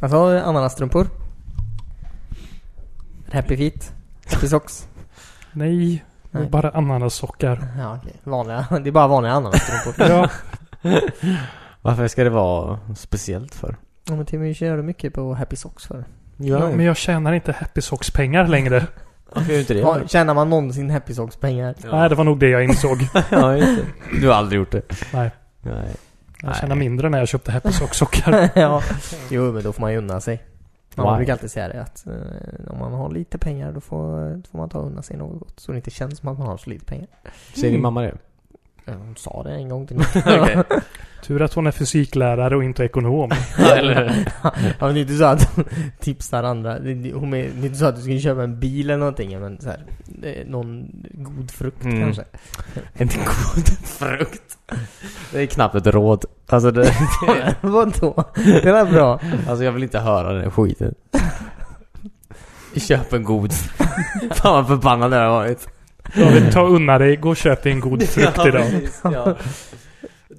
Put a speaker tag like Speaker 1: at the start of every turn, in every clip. Speaker 1: Alltså ananasstrumpor. Happy feet. Happy socks.
Speaker 2: Nej, det var
Speaker 1: Nej.
Speaker 2: bara ananassockar.
Speaker 1: Ja, okej. vanliga. Det är bara vanliga ananasstrumpor.
Speaker 2: Ja,
Speaker 3: Varför ska det vara speciellt för?
Speaker 1: ja, men Timmy körde mycket på happy socks för.
Speaker 2: ja, men jag tjänar inte Happy Socks-pengar längre.
Speaker 3: Varför gör du inte det?
Speaker 1: Ja, tjänar man någonsin happy socks pengar?
Speaker 2: Nej, det var nog det jag insåg.
Speaker 3: ja, just det. Du har aldrig gjort det?
Speaker 2: Nej.
Speaker 3: Nej.
Speaker 2: Jag
Speaker 3: Nej.
Speaker 2: tjänade mindre när jag köpte Happy Socks-sockar.
Speaker 1: ja. Jo, men då får man ju unna sig. Man
Speaker 3: Why?
Speaker 1: brukar alltid säga det att eh, om man har lite pengar då får, då får man ta och unna sig något gott. Så det inte känns som att man har så lite pengar.
Speaker 3: Säger din mamma det?
Speaker 1: Eh, Hon sa det en gång till mig.
Speaker 3: Okej.
Speaker 2: Tur att hon är fysiklärare och inte ekonom.
Speaker 3: Eller
Speaker 1: ja, men det är inte så att hon tipsar andra. Det är, hon är, det är inte så att du ska köpa en bil eller någonting. Men så här, eh, någon god frukt
Speaker 3: Mm.
Speaker 1: kanske.
Speaker 3: En god frukt. Det är knappt ett råd. Alltså, det,
Speaker 1: Vadå? Det var bra.
Speaker 3: alltså jag vill inte höra den skiten. Köp en god. Fan vad förbannad jag har varit.
Speaker 2: Jag vill ta unna dig, gå och köp dig en god frukt
Speaker 3: Ja,
Speaker 2: idag.
Speaker 3: precis, ja.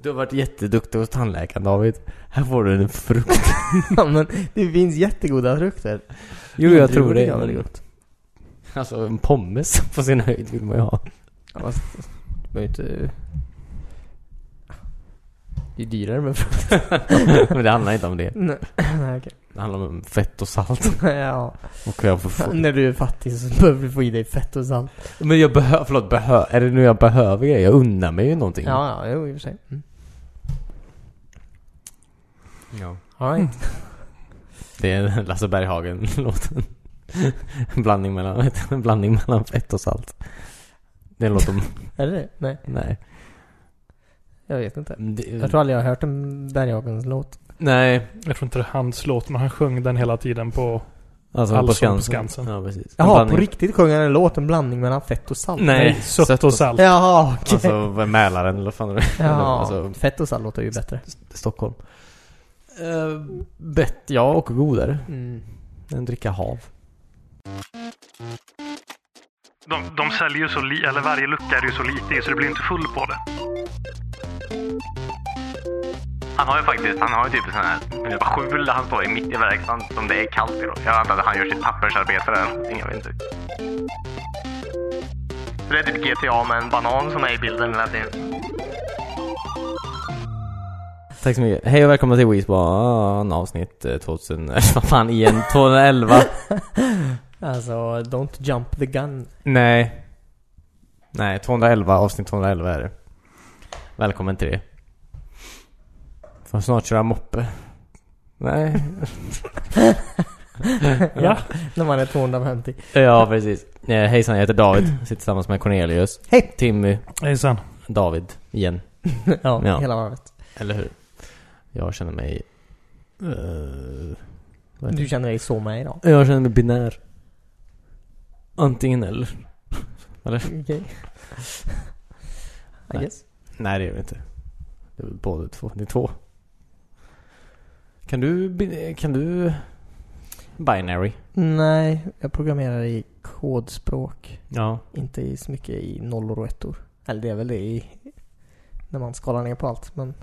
Speaker 3: Du har varit jätteduktig hos tandläkaren David. Här får du en frukt.
Speaker 1: Ja, men det finns jättegoda frukter.
Speaker 3: Jo, jag tror
Speaker 1: Jordgubbar
Speaker 3: det.
Speaker 1: tycker jag är väldigt
Speaker 3: men-
Speaker 1: gott.
Speaker 3: Alltså en pommes på sin höjd vill man ju ha.
Speaker 1: Ja, fast, det är ju inte... Det är dyrare med frukt.
Speaker 3: Men det handlar inte om det.
Speaker 1: Nej, nej, okej.
Speaker 3: Det handlar om fett och salt.
Speaker 1: ja.
Speaker 3: Och jag får få...
Speaker 1: När du är fattig så behöver du få i dig fett och salt.
Speaker 3: Men jag behöver, förlåt, behö, är det nu jag behöver grejer? Jag unnar mig ju någonting.
Speaker 1: Ja, ja, jo i och för sig. Mm.
Speaker 3: Ja.
Speaker 1: All right.
Speaker 3: Det är Lasse Berghagen-låten. En blandning mellan, vet du, en blandning mellan fett och salt. Det låter om,
Speaker 1: Är det det Nej,
Speaker 3: nej.
Speaker 1: jag vet inte.
Speaker 3: Det,
Speaker 1: Jag tror aldrig jag har hört en Berghagens låt.
Speaker 3: Nej.
Speaker 2: Jag tror inte det är hans låt, men han sjöng den hela tiden på...
Speaker 3: Alltså
Speaker 2: Allsång
Speaker 3: på
Speaker 2: på
Speaker 3: Skansen.
Speaker 2: Skansen.
Speaker 3: Ja, precis. En
Speaker 1: Jaha, på
Speaker 3: blandning-
Speaker 1: riktigt sjöng han en låt, en blandning mellan fett och salt?
Speaker 3: Nej,
Speaker 2: sött, och salt.
Speaker 1: Jaha, okej.
Speaker 3: Alltså vad är Mälaren eller vad fan är det?
Speaker 1: ja,
Speaker 3: Alltså,
Speaker 1: fett och salt låter ju bättre.
Speaker 3: Stockholm. Uh, bett, ja och godare
Speaker 1: Mm.
Speaker 3: än dricka hav.
Speaker 4: De, de säljer ju så lite, eller varje lucka är ju så lite i så det blir inte full på det.
Speaker 5: Han har ju faktiskt, han har ju typ en sån här skjul där han står i mitt i verkstaden som det är kallt i då. Jag antar att han gör sitt pappersarbete där eller någonting, jag vet inte. Det är typ GTA med en banan som är i bilden hela tiden.
Speaker 3: Tack så mycket. Hej och välkomna till Weezban avsnitt eh, 2000, eh, vad fan igen, 211.
Speaker 1: Alltså, don't jump the gun.
Speaker 3: Nej. Nej, 211, avsnitt 211 är det. Välkommen till det. Får snart köra moppe. Nej.
Speaker 2: Ja.
Speaker 1: När man är 250.
Speaker 3: ja, precis. Eh, hejsan, jag heter David. Sitter tillsammans med Cornelius.
Speaker 1: Hej!
Speaker 3: Timmy.
Speaker 2: Hejsan.
Speaker 3: David. Igen.
Speaker 1: ja,
Speaker 3: Ja.
Speaker 1: hela varvet.
Speaker 3: Eller hur? Jag känner mig... eh, vad heter
Speaker 1: Du känner dig så med idag.
Speaker 3: det? jag känner mig binär. Antingen eller. Eller?
Speaker 1: Okej. I
Speaker 3: Nej.
Speaker 1: guess.
Speaker 3: Nej, det gör vi inte. Det är väl både två. Det är två. Kan du... bin- Kan du... Binary?
Speaker 1: Nej, jag programmerar i kodspråk.
Speaker 3: Ja.
Speaker 1: Inte i så mycket i nollor och ettor. Eller det är väl det i... När man skalar ner på allt. Men typ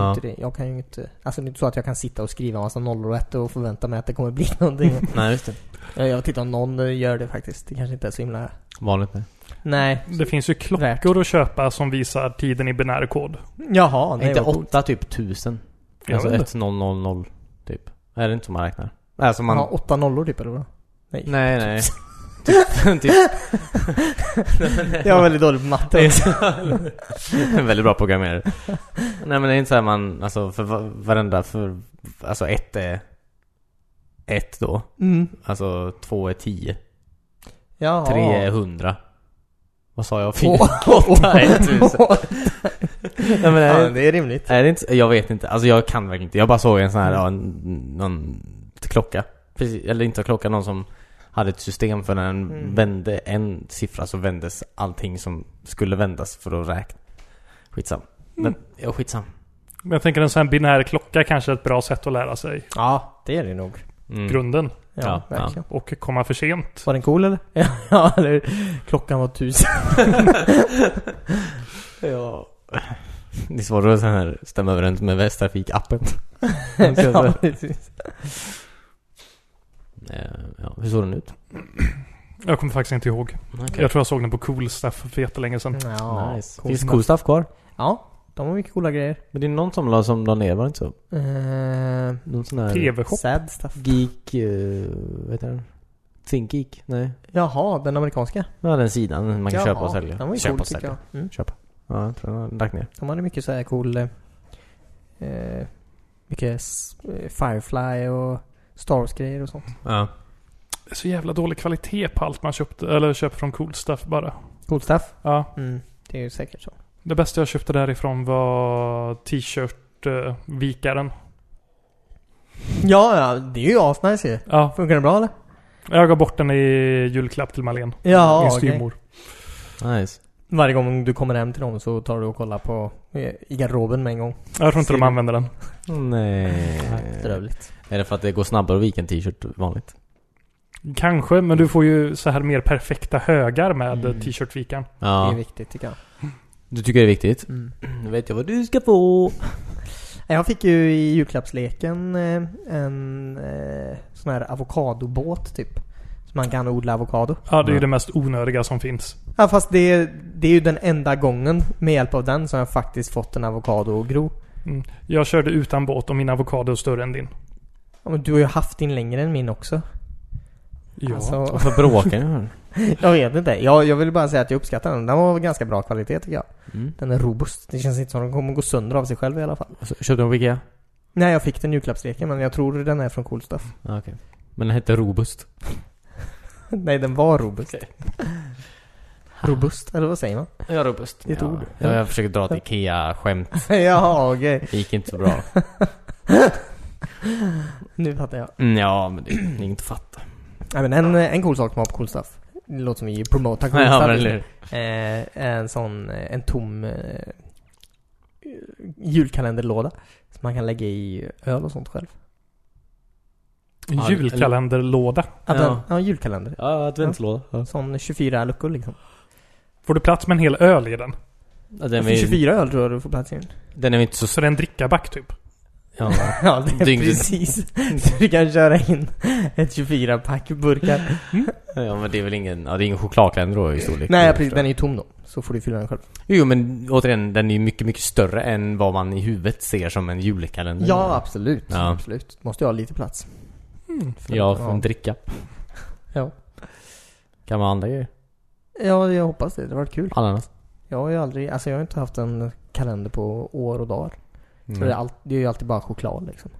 Speaker 3: ja.
Speaker 1: inte det. jag kan ju inte... Alltså det är inte så att jag kan sitta och skriva en massa nollor och ettor och förvänta mig att det kommer bli någonting.
Speaker 3: Nej, just det.
Speaker 1: jag jag tittar om någon eh, gör det faktiskt. Det kanske inte är så himla...
Speaker 3: Vanligt med.
Speaker 1: Nej.
Speaker 2: Det finns ju
Speaker 1: Värt.
Speaker 2: klockor att köpa som visar tiden i binär kod.
Speaker 1: Jaha,
Speaker 3: Är
Speaker 1: nej.
Speaker 3: inte
Speaker 1: vad coolt.
Speaker 3: åtta typ tusen?
Speaker 2: Jag
Speaker 3: Alltså
Speaker 2: vet
Speaker 3: ett noll noll noll typ. Är det inte så man räknar? Alltså man...
Speaker 1: Ja, åtta nollor typ eller vad? Nej.
Speaker 3: Nej, nej. typ, typ.
Speaker 1: Jag var väldigt dålig på matte.
Speaker 3: Det är så- en väldigt bra programmerare. Nej men det är inte så här man, alltså för va- varenda, för, alltså ett är ett då.
Speaker 1: Mm.
Speaker 3: Alltså två är tio.
Speaker 1: Jaha.
Speaker 3: Tre är hundra. Vad sa jag? Fyra?
Speaker 1: Åh.
Speaker 3: Åtta är tusen. Nej, men
Speaker 1: Ja,
Speaker 3: är,
Speaker 1: det är rimligt.
Speaker 3: är det inte, jag vet inte. Alltså jag kan verkligen inte. Jag bara såg en sån här, ja, en, någon klocka. Precis, eller inte klocka, någon som hade ett system för när den
Speaker 1: Mm.
Speaker 3: vände en siffra så vändes allting som skulle vändas för att räkna. Skitsam. Men, ja skitsam.
Speaker 2: Men jag tänker en sån här binär klocka kanske är ett bra sätt att lära sig
Speaker 1: Mm. Ja, det är det nog.
Speaker 3: Mm.
Speaker 2: grunden.
Speaker 1: Ja,
Speaker 3: Ja,
Speaker 1: verkligen.
Speaker 2: Och komma för sent.
Speaker 1: Var den cool eller? ja, eller Klockan var tusen.
Speaker 3: Ja. Det är svårare att så här stämma överens med Västtrafik-appen.
Speaker 1: ja, precis.
Speaker 3: Eh, Hur såg den ut?
Speaker 2: Jag kommer faktiskt inte ihåg. Jag tror jag såg den på Cool Stuff för jättelänge
Speaker 1: Mm.
Speaker 2: sedan.
Speaker 1: Ja,
Speaker 3: nice.
Speaker 1: coolt.
Speaker 3: Finns cool stuff kvar?
Speaker 1: Ja, de har mycket coola grejer.
Speaker 3: Men det är någon som la, som la ner, var det inte så?
Speaker 1: Eh,
Speaker 3: Någon sån här...
Speaker 2: TV-shop.
Speaker 1: sad stuff.
Speaker 3: Geek... eh, vad heter den? Think Geek? Nej.
Speaker 1: Jaha, den amerikanska.
Speaker 3: Ja, den sidan man kan
Speaker 1: Jaha,
Speaker 3: köpa och sälja.
Speaker 1: Den var ju
Speaker 3: köpa
Speaker 1: cool
Speaker 3: och
Speaker 1: tycker jag.
Speaker 3: sälja.
Speaker 1: Mm.
Speaker 3: Köpa. Ja, jag tror den har lagt ner.
Speaker 1: De hade mycket så här cool... eh, Eh, mycket s- eh, Firefly och Stars-grejer och sånt.
Speaker 3: Ja.
Speaker 2: Det är så jävla dålig kvalitet på allt man köpte, eller köper från Cool Stuff bara.
Speaker 1: Cool stuff.
Speaker 2: Ja.
Speaker 1: Mm, det är ju säkert så.
Speaker 2: Det bästa jag köpte därifrån var eh, t-shirt-vikaren.
Speaker 1: Ja, ja, det är ju asnice ju.
Speaker 2: Ja,
Speaker 1: Funkar den bra eller?
Speaker 2: jag gav bort den i julklapp till Malin.
Speaker 1: Ja,
Speaker 2: Min
Speaker 1: okej.
Speaker 2: styvmor.
Speaker 3: Nice.
Speaker 1: Varje gång du kommer hem till dem så tar du och kollar på eh, i garderoben med en gång.
Speaker 2: Jag tror inte de
Speaker 1: Styr.
Speaker 2: använder den.
Speaker 3: Nej.
Speaker 1: Bedrövligt.
Speaker 3: Är det för att det går snabbare att vika en t-shirt vanligt?
Speaker 2: Kanske, men du får ju så här mer perfekta högar med
Speaker 1: Mm.
Speaker 2: t-shirt-vikaren.
Speaker 1: Det är
Speaker 3: Ja.
Speaker 1: viktigt tycker jag.
Speaker 3: Du tycker det är viktigt?
Speaker 1: Mm.
Speaker 3: Nu vet jag vad du ska få.
Speaker 1: Jag fick ju i julklappsleken eh, en eh, sån här avokadobåt typ. Så man kan odla avokado.
Speaker 2: Ja, det är ju
Speaker 3: Ja.
Speaker 2: det mest onödiga som finns.
Speaker 1: Ja fast det, det är ju den enda gången med hjälp av den som jag faktiskt fått en avokado att gro.
Speaker 2: Mm. Jag körde utan båt och min avokado är större än din.
Speaker 1: Ja, men du har ju haft din längre än min också.
Speaker 2: Ja.
Speaker 1: Alltså,
Speaker 3: Varför bråkar ni? här?
Speaker 1: jag vet inte. Jag, jag vill bara säga att jag uppskattar den. Den var ganska bra kvalitet tycker jag.
Speaker 3: Mm.
Speaker 1: Den är robust. Det känns inte som att den kommer gå sönder av sig själv i alla fall.
Speaker 3: Alltså, Köpte du den på Ikea?
Speaker 1: Nej, jag fick den i julklappsleken men jag tror den är från Cool Stuff.
Speaker 3: Ja, okej. Men den hette Robust.
Speaker 1: Nej, den var robust. robust, eller vad säger man?
Speaker 3: Ja, Robust.
Speaker 1: Det är ett ord.
Speaker 3: Ja, jag försöker dra ett Ikea-skämt.
Speaker 1: Jaha, okej.
Speaker 3: Det gick inte så bra.
Speaker 1: Nu fattar jag.
Speaker 3: Mm, ja, men det är inget att fatta.
Speaker 1: Nej, men en, en cool sak som var på Cool Stuff. Det låter som vi promotar Cool
Speaker 3: Ja, men
Speaker 1: Stuff.
Speaker 3: eller hur?
Speaker 1: eh, en sån, eh, en tom eh, julkalenderlåda. Som man kan lägga i öl och sånt själv.
Speaker 2: En
Speaker 3: Ja,
Speaker 2: julkalenderlåda.
Speaker 1: Ja,
Speaker 3: Ja.
Speaker 1: den, ja en julkalender.
Speaker 3: Ja, adventslåda. Ja.
Speaker 1: Sån 24 luckor liksom.
Speaker 2: Får du plats med en hel öl i den?
Speaker 3: Ja, Den, är, ju-
Speaker 1: 24 Alltså, öl tror jag du får plats i den.
Speaker 3: den är ju inte så...
Speaker 2: Så det är en drickaback typ?
Speaker 3: Ja.
Speaker 1: Ja, det är
Speaker 3: Dygnet.
Speaker 1: precis. Så du kan köra in ett 24-pack burkar.
Speaker 3: ja, men det är väl ingen... Ja, det är ingen chokladkalender då i storlek.
Speaker 1: Nej, precis. Den är ju tom då. Så får du fylla den själv.
Speaker 3: Jo, men återigen, den är ju mycket, mycket större än vad man i huvudet ser som en julkalender.
Speaker 1: Ja, absolut.
Speaker 3: Mm. Ja.
Speaker 1: Absolut. Måste jag ha lite plats. För-
Speaker 3: Ja, för en dricka.
Speaker 1: Ja.
Speaker 3: Kan man ha andra grejer?
Speaker 1: Ja, jag hoppas det. Det var kul.
Speaker 3: Ananas?
Speaker 1: Jag har ju aldrig, alltså jag har inte haft en kalender på år och dagar. Så det, är
Speaker 3: Mm.
Speaker 1: allt, det är ju alltid bara choklad liksom.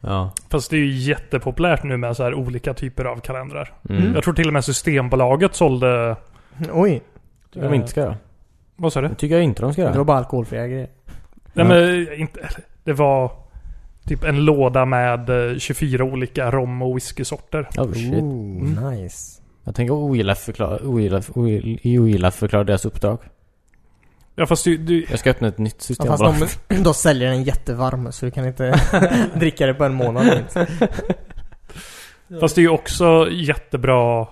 Speaker 3: Ja.
Speaker 2: Fast det är ju jättepopulärt nu med så här olika typer av kalendrar.
Speaker 1: Mm.
Speaker 3: Mm.
Speaker 2: Jag tror till och med Systembolaget sålde... eh,
Speaker 1: Oj,
Speaker 3: tycker de inte ska göra.
Speaker 2: Vad sa du?
Speaker 3: Det tycker jag inte de ska
Speaker 1: det var
Speaker 3: göra.
Speaker 1: bara alkoholfria grejer.
Speaker 2: Nej
Speaker 3: Ja.
Speaker 2: men eh, inte... eller, Det var typ en låda med eh, 24 olika rom och whiskysorter.
Speaker 3: Oh shit.
Speaker 1: Ooh, nice.
Speaker 3: Jag tänker ogilla förklara, ogilla, ogilla, ogilla förklara deras uppdrag.
Speaker 2: Ja fast du... du
Speaker 3: Jag ska öppna ett nytt
Speaker 1: Ja,
Speaker 3: system
Speaker 1: fast
Speaker 3: bara.
Speaker 1: de, de säljer den jättevarm så du kan inte dricka det på en månad minst.
Speaker 2: Fast det är ju också jättebra...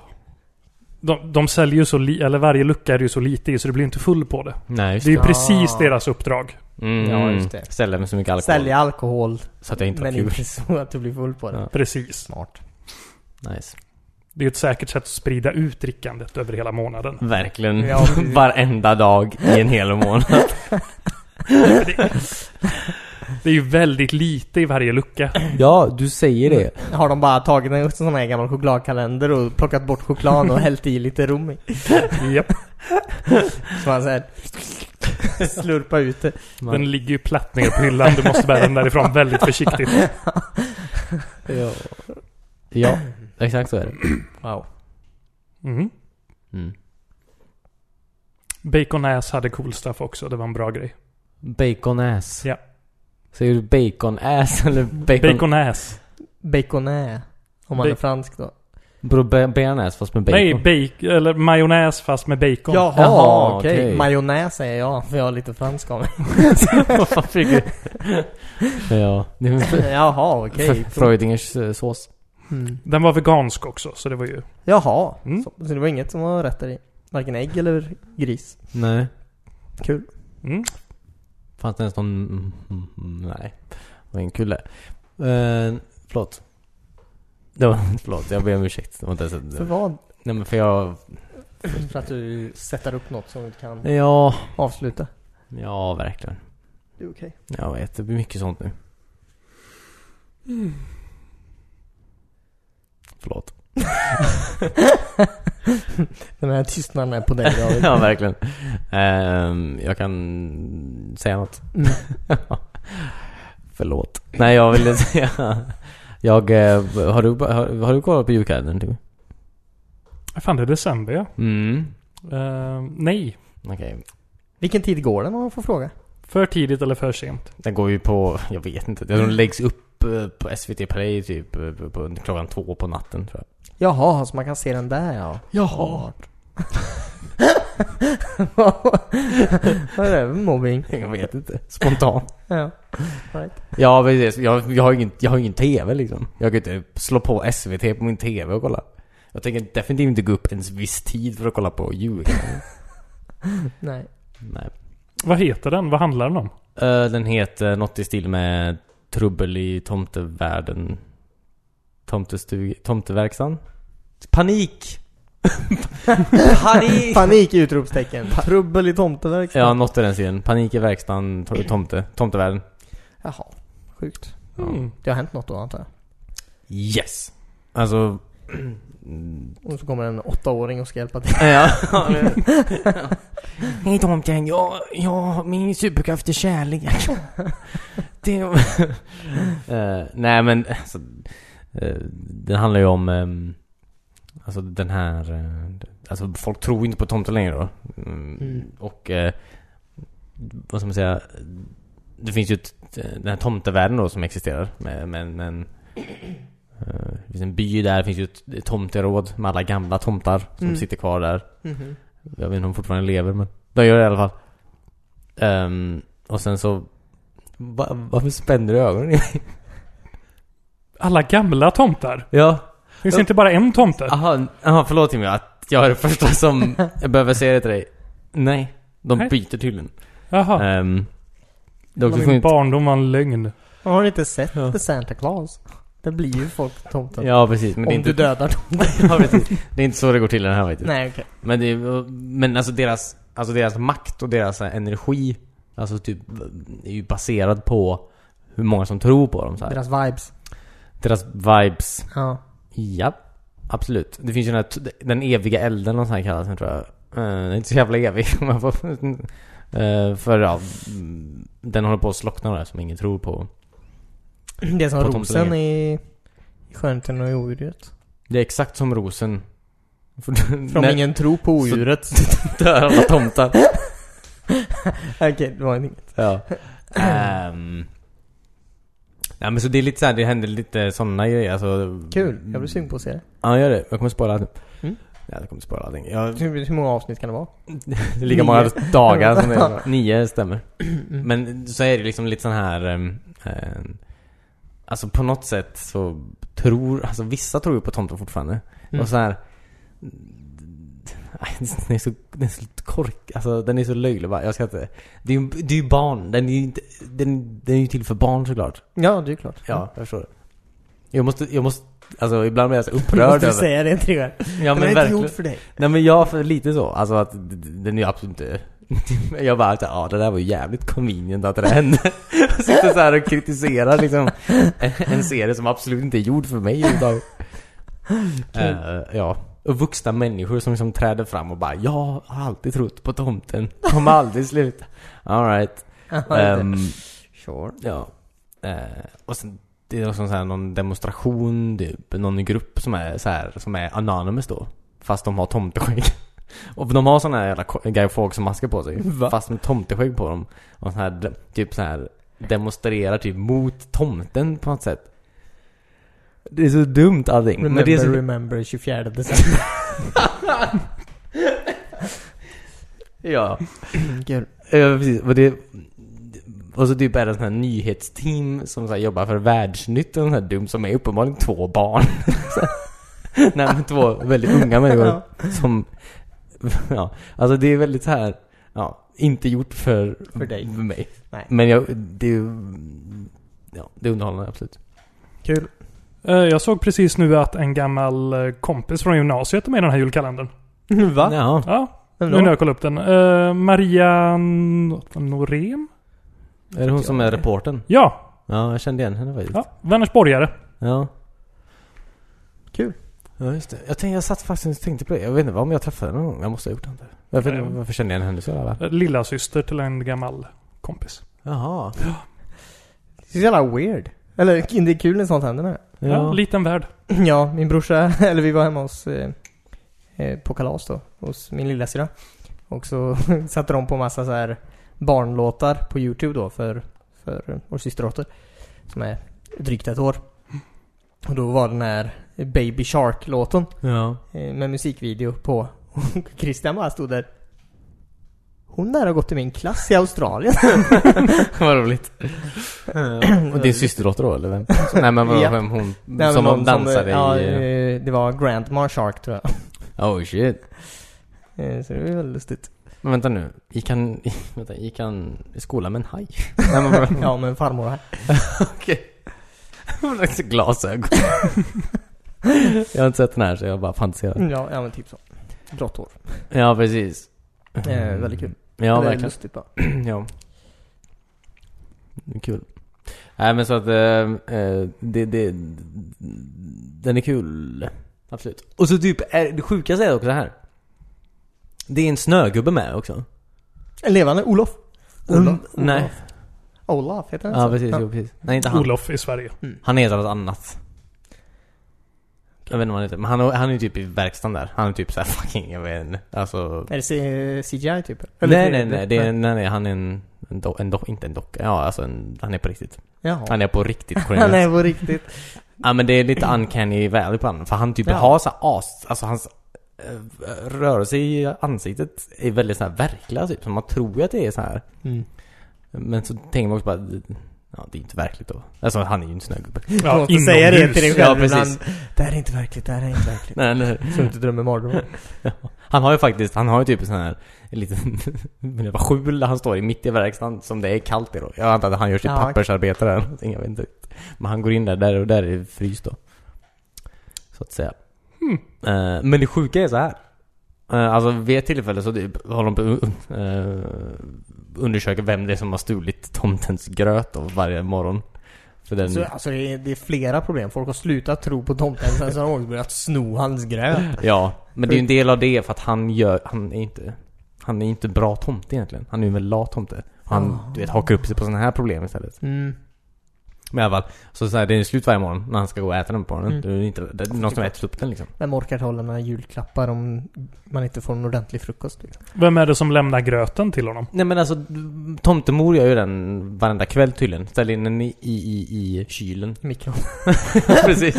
Speaker 2: De, de säljer ju så li, eller varje lucka är ju så lite i så du blir inte full på det.
Speaker 3: Nej, just
Speaker 2: Det är ju
Speaker 1: Ah.
Speaker 2: precis deras uppdrag.
Speaker 3: det. Mm.
Speaker 1: Ja, just det.
Speaker 3: Ställa mig så mycket alkohol.
Speaker 1: Sälja alkohol
Speaker 3: Så att jag inte har
Speaker 1: men
Speaker 3: kul.
Speaker 1: inte så att du blir full på det.
Speaker 3: Ja.
Speaker 2: Precis.
Speaker 1: Smart.
Speaker 3: Nice.
Speaker 2: Det är ju ett säkert sätt att sprida ut drickandet över hela månaden.
Speaker 3: Verkligen.
Speaker 1: Ja, precis.
Speaker 3: Varenda dag i en hel månad.
Speaker 2: Det är ju väldigt lite i varje lucka.
Speaker 3: ja, du säger
Speaker 1: det. Har de bara tagit en sån här gammal chokladkalender och plockat bort choklad och hällt i lite rom i.
Speaker 2: Japp.
Speaker 1: Så man såhär slurpa ut det.
Speaker 2: Den ligger ju platt ner på hyllan. Du måste bära den därifrån väldigt försiktigt.
Speaker 3: Ja. ja, exakt så är det.
Speaker 1: Wow.
Speaker 2: Mm.
Speaker 3: Mm.
Speaker 2: Bacon ass hade cool stuff också. Det var en bra grej.
Speaker 3: Bacon ass.
Speaker 2: Ja.
Speaker 3: Säger du bacon ass eller bacon?
Speaker 2: Bacon ass.
Speaker 1: Baconä. Om man
Speaker 2: Ba-
Speaker 1: är fransk då.
Speaker 3: Bro, ba- bearnaise fast med bacon?
Speaker 2: Nej, bacon. Eller majonnäs fast med bacon.
Speaker 1: Jaha,
Speaker 3: Jaha,
Speaker 1: okej.
Speaker 3: okej.
Speaker 1: Majonnäs säger jag, för jag har lite fransk av mig.
Speaker 3: ja. Det är väl
Speaker 1: Jaha, okej.
Speaker 3: F- Freudingers eh, sås.
Speaker 1: Mm.
Speaker 2: Den var vegansk också, så det var ju...
Speaker 1: Jaha.
Speaker 2: Mm.
Speaker 1: Så, så det var inget som var rätt där i? Varken ägg eller gris?
Speaker 3: Nej.
Speaker 1: Kul.
Speaker 2: Mm.
Speaker 3: Fanns det ens någon... Mm, mm, nej. Det var en kul det. Eh, Förlåt. Det var, förlåt, jag ber om ursäkt. Det var inte ens
Speaker 1: För
Speaker 3: ett...
Speaker 1: vad?
Speaker 3: Nej men för jag...
Speaker 1: För att du sätter upp något som du kan
Speaker 3: Ja.
Speaker 1: avsluta.
Speaker 3: Ja, verkligen.
Speaker 1: Det är okej.
Speaker 3: Jag vet, det blir mycket sånt nu. Förlåt.
Speaker 1: Den här tystnaden är på dig David.
Speaker 3: ja, verkligen. Ehm, jag kan säga något.
Speaker 1: Mm.
Speaker 3: Förlåt. Nej, jag ville säga... Jag, eh, har, du, har, har du kollat på julkalendern? Typ?
Speaker 2: Fan, det är december ja.
Speaker 3: Mm.
Speaker 2: Eh, nej.
Speaker 3: Okej.
Speaker 1: Vilken tid går den om man får fråga?
Speaker 2: För tidigt eller för sent.
Speaker 3: Den går ju på, jag vet inte. Jag tror den läggs upp eh, på SVT Play typ eh, på, på, klockan två på natten tror jag.
Speaker 1: Jaha, så man kan se den där ja.
Speaker 3: Jaha.
Speaker 1: Vad är det? Mobbing?
Speaker 3: Jag vet inte. Spontant.
Speaker 1: Ja. Right.
Speaker 3: ja precis. Jag, jag, har ingen, jag har ingen TV liksom. Jag kan inte slå på SVT på min TV och kolla. Jag tänker definitivt inte gå upp en viss tid för att kolla på julkalendern.
Speaker 1: Nej.
Speaker 3: Nej.
Speaker 2: Vad heter den? Vad handlar den om?
Speaker 3: Eh, Den heter något i stil med Trubbel i tomtevärlden. Tomtestug... Tomteverkstan? Panik! Panik!
Speaker 1: Panik! Utropstecken. Trubbel i liksom. tomteverkstan.
Speaker 3: Ja, något i den stilen. Panik i verkstaden, to- tomte, tomtevärlden.
Speaker 1: Jaha. Sjukt.
Speaker 3: Ja.
Speaker 2: Mm.
Speaker 1: Det har hänt något då antar jag.
Speaker 3: Yes! Alltså... mm,
Speaker 1: Och så kommer en åttaåring och ska hjälpa till.
Speaker 3: Ja. Hej tomten, jag, jag, min superkraft är kärlek. det... Eh, nej men, alltså, eh, den handlar ju om... ehm, alltså den här... eh, alltså folk tror inte på tomten längre då. Mm,
Speaker 1: Mm.
Speaker 3: Och... eh, vad ska man säga? Det finns ju ett, eh, den här tomtevärlden då som existerar. Med, med, en- med en, eh, det finns en by där, det finns ju ett tomteråd med alla gamla tomtar som
Speaker 1: Mm.
Speaker 3: sitter kvar där.
Speaker 1: Mhm.
Speaker 3: Jag vet inte om de fortfarande lever men de gör det i alla fall. Ehm, och sen så... Va, varför spänner du ögonen i mig?
Speaker 2: Alla gamla tomtar.
Speaker 3: Ja.
Speaker 2: Finns det inte bara en tomte?
Speaker 3: Aha, aha, förlåt Timmy att jag är den första som jag behöver säga det till dig. Nej. De
Speaker 2: Nej.
Speaker 3: byter tydligen.
Speaker 2: Jaha.
Speaker 3: Um, det har också
Speaker 2: Min
Speaker 3: funnits...
Speaker 2: barndom var en lögn.
Speaker 1: Har du inte sett
Speaker 3: Ja.
Speaker 1: The Santa Claus? Det blir ju folk på tomten.
Speaker 3: Ja precis, men
Speaker 1: Om
Speaker 3: det är,
Speaker 1: du
Speaker 3: inte,
Speaker 1: dödar dem.
Speaker 3: ja, precis. det är inte så det går till i den här faktiskt.
Speaker 1: Nej okej.
Speaker 3: Men, det, men alltså, deras, alltså deras makt och deras så här, energi Alltså typ är ju baserad på hur många som tror på dem så här.
Speaker 1: Deras vibes.
Speaker 3: Deras vibes
Speaker 1: Ja.
Speaker 3: Ja, absolut. Det finns ju den här den eviga elden och sån här kallas den tror jag. Eh, Den är inte så jävla evig. om man får- Eh, För ja, mm, den håller på att slockna där som ingen tror på.
Speaker 1: Det är som
Speaker 3: På
Speaker 1: rosen
Speaker 3: tomtelängen.
Speaker 1: i i Skönheten och i odjuret.
Speaker 3: Det är exakt som rosen. För-
Speaker 1: För om
Speaker 3: när-
Speaker 1: ingen tror på odjuret.
Speaker 3: dör alla tomtar.
Speaker 1: okej, det var inget.
Speaker 3: ja. Ehm. Nej men så det är lite så här, det händer lite såna grejer alltså.
Speaker 1: Kul. Jag blir sugen på att se det.
Speaker 3: Ja gör det. Jag kommer spoila nu.
Speaker 1: Mm.
Speaker 3: Ja, jag kommer spoila allting. Jag,
Speaker 1: Hur, hur många avsnitt kan det vara?
Speaker 3: Det är lika
Speaker 1: Nio.
Speaker 3: många dagar som det är. Mm. Nio stämmer. Men så är det liksom lite sån här... ehm, ehm, alltså på något sätt så tror... Alltså vissa tror ju på tomten fortfarande.
Speaker 1: Mm.
Speaker 3: Och så här... Nej, Den är så, den är så kork, alltså den är så löjlig bara. Jag ska inte... Det är ju det är ju barn, den är ju inte, den, den är ju till för barn såklart.
Speaker 1: Ja, det är klart.
Speaker 3: Ja, jag förstår det. Jag måste, jag måste, alltså ibland blir jag så
Speaker 1: Du
Speaker 3: upprörd
Speaker 1: måste du
Speaker 3: över...
Speaker 1: säga det tre gånger.
Speaker 3: Ja
Speaker 1: Den är inte gjord för dig.
Speaker 3: Nej men jag, för lite så. Alltså att d- d- den är ju absolut inte... Jag bara så här, ja det där var ju jävligt convenient att det där hände. Jag sitter så här och kritiserar liksom en- en serie som absolut inte är gjord för mig överhuvudtaget. Eh, ja. Och vuxna människor som liksom träder fram och bara Jag har alltid trott på tomten. Kommer aldrig sluta. Alright. Um,
Speaker 1: sure.
Speaker 3: ja. Eh, och sen det är också så här någon demonstration, typ, någon grupp som är så här, som är anonymous då. Fast de har tomteskägg. Och de har såna här jävla ko- Guy Fawkes-masker på sig. Fast med tomteskägg på dem. Och så här, de- typ så här demonstrerar typ mot tomten på något sätt. Det är så dumt allting.
Speaker 1: Remember,
Speaker 3: men det är så,
Speaker 1: remember 24 december.
Speaker 3: ja.
Speaker 1: Kul.
Speaker 3: Ja precis, och det... Och så typ är det sån här nyhetsteam som så här jobbar för Världsnytt och sån här dum som är uppenbarligen två barn. Så- Nej men två väldigt unga människor som... Ja, alltså det är väldigt så här... Ja, inte gjort för...
Speaker 1: För dig.
Speaker 3: För mig.
Speaker 1: Nej.
Speaker 3: Men jag... Det är ju... Ja, det är underhållande absolut.
Speaker 1: Kul.
Speaker 2: Eh, Jag såg precis nu att en gammal eh, kompis från gymnasiet är med i den här julkalendern.
Speaker 1: Va?
Speaker 3: Ja.
Speaker 2: Ja,
Speaker 1: Vem
Speaker 2: nu när
Speaker 1: då?
Speaker 2: jag kollar upp den. Eh, Maria N- Norén?
Speaker 3: Är det hon som är reportern?
Speaker 2: Ja,
Speaker 3: Ja, jag kände igen henne faktiskt.
Speaker 2: ja Vänersborgare.
Speaker 3: Ja.
Speaker 1: Kul.
Speaker 3: Ja, just det. Jag, tänkte, jag satt faktiskt och tänkte på det. Jag vet inte om jag träffade henne någon gång. Jag måste ha gjort det. inte. Varför,
Speaker 2: Nej.
Speaker 3: varför kände jag henne så jävla väl?
Speaker 2: Eh, Lillasyster till en gammal kompis.
Speaker 3: Jaha.
Speaker 1: Det är så jävla weird. Eller det är kul när sånt händer med.
Speaker 2: Ja.
Speaker 3: Ja.
Speaker 2: liten värld.
Speaker 1: Ja, min brorsa, eller vi var hemma hos, eh, eh, på kalas då, hos min lillasyrra. Och så satte de på massa så här barnlåtar på YouTube då för, för vår systerdotter. Som är drygt ett år. Och då var den här Baby Shark-låten
Speaker 3: ja.
Speaker 1: eh, med musikvideo på. Och Christian bara stod där. Hon där har gått i min klass i Australien.
Speaker 3: Vad roligt. Och din systerdotter då, eller vem? Nej men vadå,
Speaker 1: Ja.
Speaker 3: vem hon...
Speaker 1: Nej, men
Speaker 3: som
Speaker 1: någon
Speaker 3: hon dansade
Speaker 1: ja,
Speaker 3: i...
Speaker 1: eh, det var Grandma Shark tror jag.
Speaker 3: Oh shit.
Speaker 1: Eh, Så det var ju väldigt lustigt.
Speaker 3: Men vänta nu. Gick han... Vänta, gick han i skolan med en haj? Nej men vadå?
Speaker 1: Ja, men farmor här.
Speaker 3: Okej. Hon har också glasögon. jag har inte sett den här så jag bara fantiserar.
Speaker 1: Ja, ja men typ så. Blått hår.
Speaker 3: Ja, precis.
Speaker 1: Eh, väldigt kul.
Speaker 3: Mm. Ja,
Speaker 1: Eller
Speaker 3: verkligen.
Speaker 1: lustigt bara.
Speaker 3: ja. Det är Kul. Nej men så att, eh, eh, det, det, den är kul. Absolut. Och så typ, är, det sjukaste är också det här. Det är en snögubbe med också.
Speaker 1: En levande Olof.
Speaker 3: Mm,
Speaker 1: Olof.
Speaker 3: nej.
Speaker 1: Olaf heter han
Speaker 3: Ja
Speaker 1: så?
Speaker 3: precis, jo, precis. Nej inte han.
Speaker 2: Olof i Sverige.
Speaker 3: Han heter något annat. Jag vet inte vad han heter, men han, han är ju typ i verkstaden där. Han är typ såhär fucking, jag vet inte. Alltså...
Speaker 1: Är det C- CGI typ?
Speaker 3: Nej nej nej, det är, nej, nej, han är en, en, do, en do, inte en docka, ja alltså en, han är på riktigt.
Speaker 1: Jaha.
Speaker 3: Han är på riktigt
Speaker 1: Han
Speaker 3: Cornelius.
Speaker 1: är på riktigt.
Speaker 3: Ja men det är lite uncanny valley på honom. För han typ
Speaker 1: Ja.
Speaker 3: har så här as, alltså hans eh, rörelse i ansiktet är väldigt så här verkliga typ. Så man tror ju att det är så här.
Speaker 1: Mm.
Speaker 3: Men så tänker man också bara, ja det är ju inte verkligt då. Alltså han är ju inte snögubbe.
Speaker 2: Ja,
Speaker 1: Måste säga det till dig
Speaker 2: inomhus.
Speaker 1: själv
Speaker 3: Ja,
Speaker 1: ibland.
Speaker 3: precis.
Speaker 1: Det här är inte verkligt, det här är inte verkligt.
Speaker 3: Nej, nej.
Speaker 1: Så du inte drömmer mardrömmar.
Speaker 3: Han har ju faktiskt, han har ju typ en sån här en liten men det var skjul där han står i mitt i verkstaden som det är kallt i då. Jag antar att han gör sitt
Speaker 1: Ja.
Speaker 3: pappersarbete där eller någonting, jag vet inte. riktigt. Men han går in där, där och där är det frys då. Så att säga.
Speaker 1: Hmm.
Speaker 3: Eh, men det sjuka är så här. Eh, alltså vid ett tillfälle så typ håller de på att eh, undersöka vem det är som har stulit tomtens gröt då varje morgon. För den,
Speaker 1: Så, alltså det är, det är flera problem. Folk har slutat tro på tomten sen så har de också börjat sno hans gröt.
Speaker 3: Ja, men det är ju en del av det för att han gör, han är inte, han är inte en bra tomte egentligen. Han är ju en väldigt lat tomte. Och han,
Speaker 1: Ah.
Speaker 3: du vet, hakar upp sig på sådana här problem istället.
Speaker 1: Mm.
Speaker 3: Men i alla fall, så, så här, det är slut varje morgon när han ska gå och äta den på morgonen.
Speaker 1: Mm.
Speaker 3: Det är inte, det är någon som äter upp den liksom.
Speaker 1: Vem orkar hålla några julklappar om man inte får en ordentlig frukost? Liksom?
Speaker 2: Vem är det som lämnar gröten till honom?
Speaker 3: Nej men alltså, tomtemor gör ju den varenda kväll tydligen. Ställer in den i, i, i, i kylen.
Speaker 1: Mikron.
Speaker 3: Precis.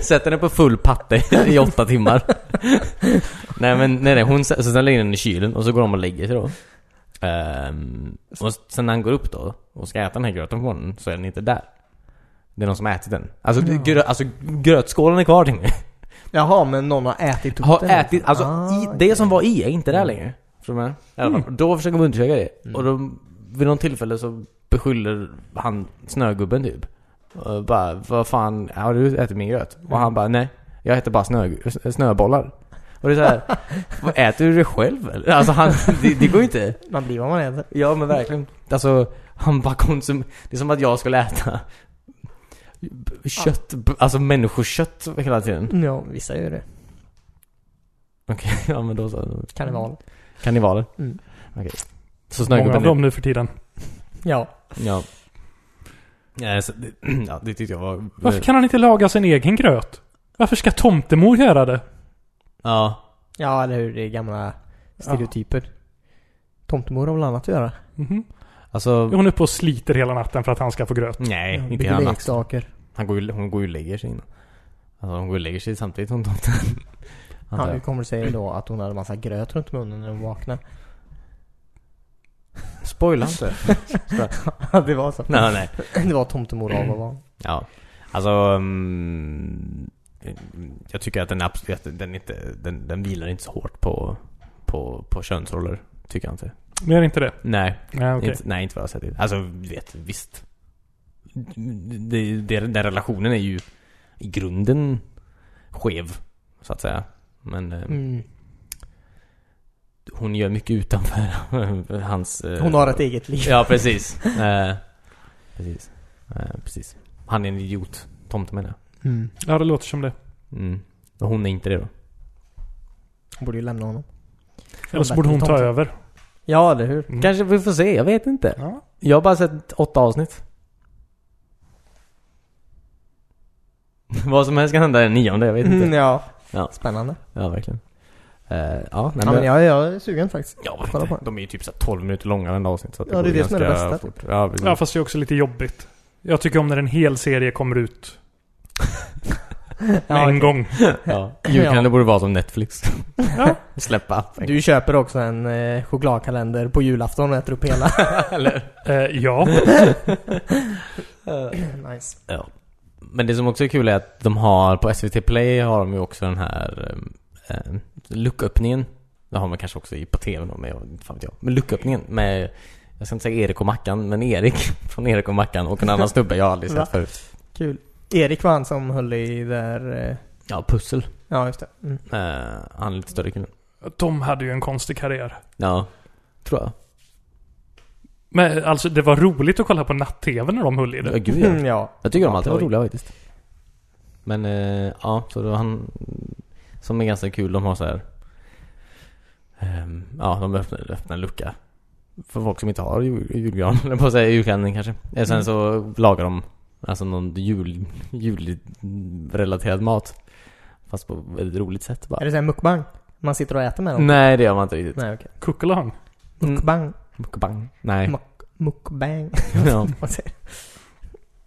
Speaker 3: Sätter den på full patte i åtta timmar. nej men nej, nej hon sä- så sen lägger den i kylen och så går de och lägger sig då. Ehm, och sen när han går upp då och ska äta den här gröten på morgonen så är den inte där. Det är någon som har ätit den. Alltså, grö, alltså grötskålen är kvar till mig.
Speaker 1: Jaha, men någon har ätit upp
Speaker 3: Har
Speaker 1: den.
Speaker 3: ätit, alltså i,
Speaker 1: Ah,
Speaker 3: det som var i är inte där längre. Förstår du vad jag menar? I alla fall. Då försöker de undersöka det. Och då, vid något tillfälle så beskyller han snögubben typ. Och bara, vad fan, har du ätit min gröt? Och han bara, nej. Jag äter bara snö, snöbollar. Och det är såhär, "Vad, äter du det själv eller? Alltså han, det, det går ju inte.
Speaker 1: Man blir vad man äter.
Speaker 3: Ja men verkligen. Alltså, han bara konsum... Det är som att jag skulle äta kött, alltså människokött hela tiden.
Speaker 1: Ja, vissa gör det.
Speaker 3: Okej, ja men då så.
Speaker 1: Karneval.
Speaker 3: Karnevaler?
Speaker 1: Mm.
Speaker 3: Okej. Så
Speaker 2: Många av
Speaker 3: snögubben
Speaker 2: dem
Speaker 3: är...
Speaker 2: nu för tiden.
Speaker 1: Eh. Ja.
Speaker 3: Ja. Ja, så, det, ja, det tyckte jag var...
Speaker 2: Varför kan han inte laga sin egen gröt? Varför ska tomtemor göra det?
Speaker 3: Ja.
Speaker 1: Ja, eller hur? Det är gamla stereotyper. Tomtemor har väl annat att göra?
Speaker 2: Mhm.
Speaker 3: Alltså...
Speaker 2: Är hon uppe och sliter hela natten för att han ska få gröt?
Speaker 3: Nej,
Speaker 1: Ja,
Speaker 3: inte
Speaker 1: bygger
Speaker 3: gärna.
Speaker 1: leksaker.
Speaker 3: Han går ju, hon går ju och lägger sig innan. Alltså hon går och lägger sig samtidigt som tomten.
Speaker 1: Ja, nu kommer det sig då att hon hade massa gröt runt munnen när hon vaknade.
Speaker 3: Spoila inte.
Speaker 1: Ja, det var så.
Speaker 3: nej, nej.
Speaker 1: Det var tomtemor av och var.
Speaker 3: Ja. Alltså... mm, jag tycker att den absolut, den inte, den, den vilar inte så hårt på, på, på könsroller. Tycker jag inte.
Speaker 2: Det är inte det?
Speaker 3: Nej,
Speaker 2: Nej, okej.
Speaker 3: Inte, nej, inte vad jag har sett. hittills. Alltså, du vet, visst. Det, det, den relationen är ju i grunden skev, så att säga. Men eh,
Speaker 1: Mm.
Speaker 3: hon gör mycket utanför hans... eh,
Speaker 1: Hon har ett eget liv.
Speaker 3: Ja, precis. Eh, precis. Eh, precis. Han är en idiot. Tomten menar
Speaker 1: Mm.
Speaker 2: Ja, det låter som det.
Speaker 3: jag. Mm. Och hon är inte det då.
Speaker 1: Hon borde ju lämna honom.
Speaker 2: Eller så borde hon ta
Speaker 1: Tomten.
Speaker 2: över.
Speaker 1: Ja, eller hur?
Speaker 2: Mm.
Speaker 3: Kanske vi får se, jag vet inte.
Speaker 2: Ja.
Speaker 3: Jag har bara sett åtta avsnitt. Vad som helst kan hända den nionde, jag vet inte.
Speaker 1: Mm, ja.
Speaker 3: Ja.
Speaker 1: Spännande.
Speaker 3: Ja, verkligen. Eh, ja, nej,
Speaker 1: ja, men jag, jag är sugen faktiskt.
Speaker 3: Ja,
Speaker 1: Kolla på den.
Speaker 3: de är ju typ så här 12 minuter långa den avsnitt. Så att
Speaker 1: Ja, det är
Speaker 3: går
Speaker 1: det som är det
Speaker 3: ganska
Speaker 1: bästa. typ.
Speaker 3: Fort. Ja, precis.
Speaker 2: ja, fast det är också lite jobbigt. Jag tycker om när en hel serie kommer ut med
Speaker 1: Ja,
Speaker 2: en
Speaker 1: okej.
Speaker 2: gång.
Speaker 3: ja. Julkalender borde vara som Netflix.
Speaker 2: Ja.
Speaker 3: Släppa allting.
Speaker 1: Du köper också en eh, chokladkalender på julafton och äter upp hela.
Speaker 2: Eh, ja.
Speaker 1: nice.
Speaker 3: Men det som också är kul är att de har, på SVT Play har de ju också den här eh, eh, lucköppningen. Det har man kanske också i- på TV då, men jag, inte fan vet jag. Men lucköppningen med, jag ska inte säga Erik och Mackan, men Erik från Erik och Mackan och en annan snubbe jag aldrig
Speaker 1: Va?
Speaker 3: sett förut.
Speaker 1: Kul. Erik var han som höll i där... Eh,
Speaker 3: Ja, pussel.
Speaker 1: ja, just det. Mm.
Speaker 3: Eh, han är lite större killen.
Speaker 2: Tom hade ju en konstig karriär.
Speaker 3: Ja, tror jag.
Speaker 2: Men alltså det var roligt att kolla på natt-tv när de höll i
Speaker 3: Ja,
Speaker 2: det.
Speaker 3: gud ja.
Speaker 1: Mm, ja.
Speaker 3: Jag tycker de alltid var
Speaker 1: Oj.
Speaker 3: roliga faktiskt. Men eh, ja, så då han... Som är ganska kul, de har så här... ehm, ja, de öppnar, öppnar en lucka. För folk som inte har jul, julgran, eller på att säga julkalendern kanske. Eh,
Speaker 1: Mm.
Speaker 3: Sen så lagar de alltså någon jul, julrelaterad mat. Fast på ett väldigt roligt sätt
Speaker 1: Är
Speaker 3: bara.
Speaker 1: det såhär mukbang? Man sitter och äter med dem?
Speaker 3: Nej, det gör man inte riktigt.
Speaker 1: Nej, okej.
Speaker 2: Kuckelång.
Speaker 3: Mm.
Speaker 1: Mukbang.
Speaker 3: Mukbang. Nej.
Speaker 1: Muk- mukbang.
Speaker 3: ja.
Speaker 1: Vad säger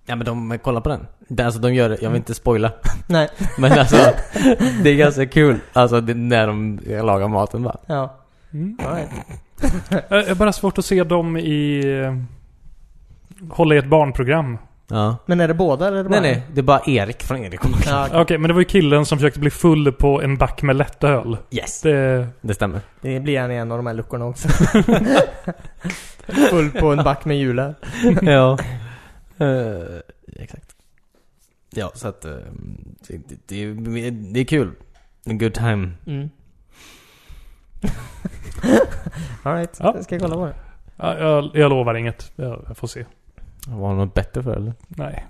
Speaker 3: ja, men de kollar på den. Det- Alltså de gör det, jag vill inte spoila.
Speaker 1: du? Nej.
Speaker 3: Men alltså, det är ganska kul. Alltså det, när de lagar maten va?
Speaker 1: Ja.
Speaker 2: Mm.
Speaker 1: All right.
Speaker 2: Eh, Jag är bara svårt att se dem i... eh, Hålla i ett barnprogram.
Speaker 3: Ja.
Speaker 1: Men är det båda eller är det bara
Speaker 3: Nej nej, det är bara Erik från Erik och Mackan.
Speaker 1: Ja,
Speaker 2: Okej, men det var ju killen som försökte bli full på en back med lättöl.
Speaker 3: Yes.
Speaker 2: Det...
Speaker 3: Det stämmer.
Speaker 1: Det blir han i en av de här luckorna också. Full på en back med jular.
Speaker 3: ja. Eh, exakt. Ja, så att eh, det, det, det, är- det är kul. A good time.
Speaker 1: Mm. Alright,
Speaker 2: Ja.
Speaker 1: jag ska kolla på det.
Speaker 2: Ja, Jag, jag lovar inget. Jag, jag får se.
Speaker 3: Var det något bättre för eller?
Speaker 2: Nej.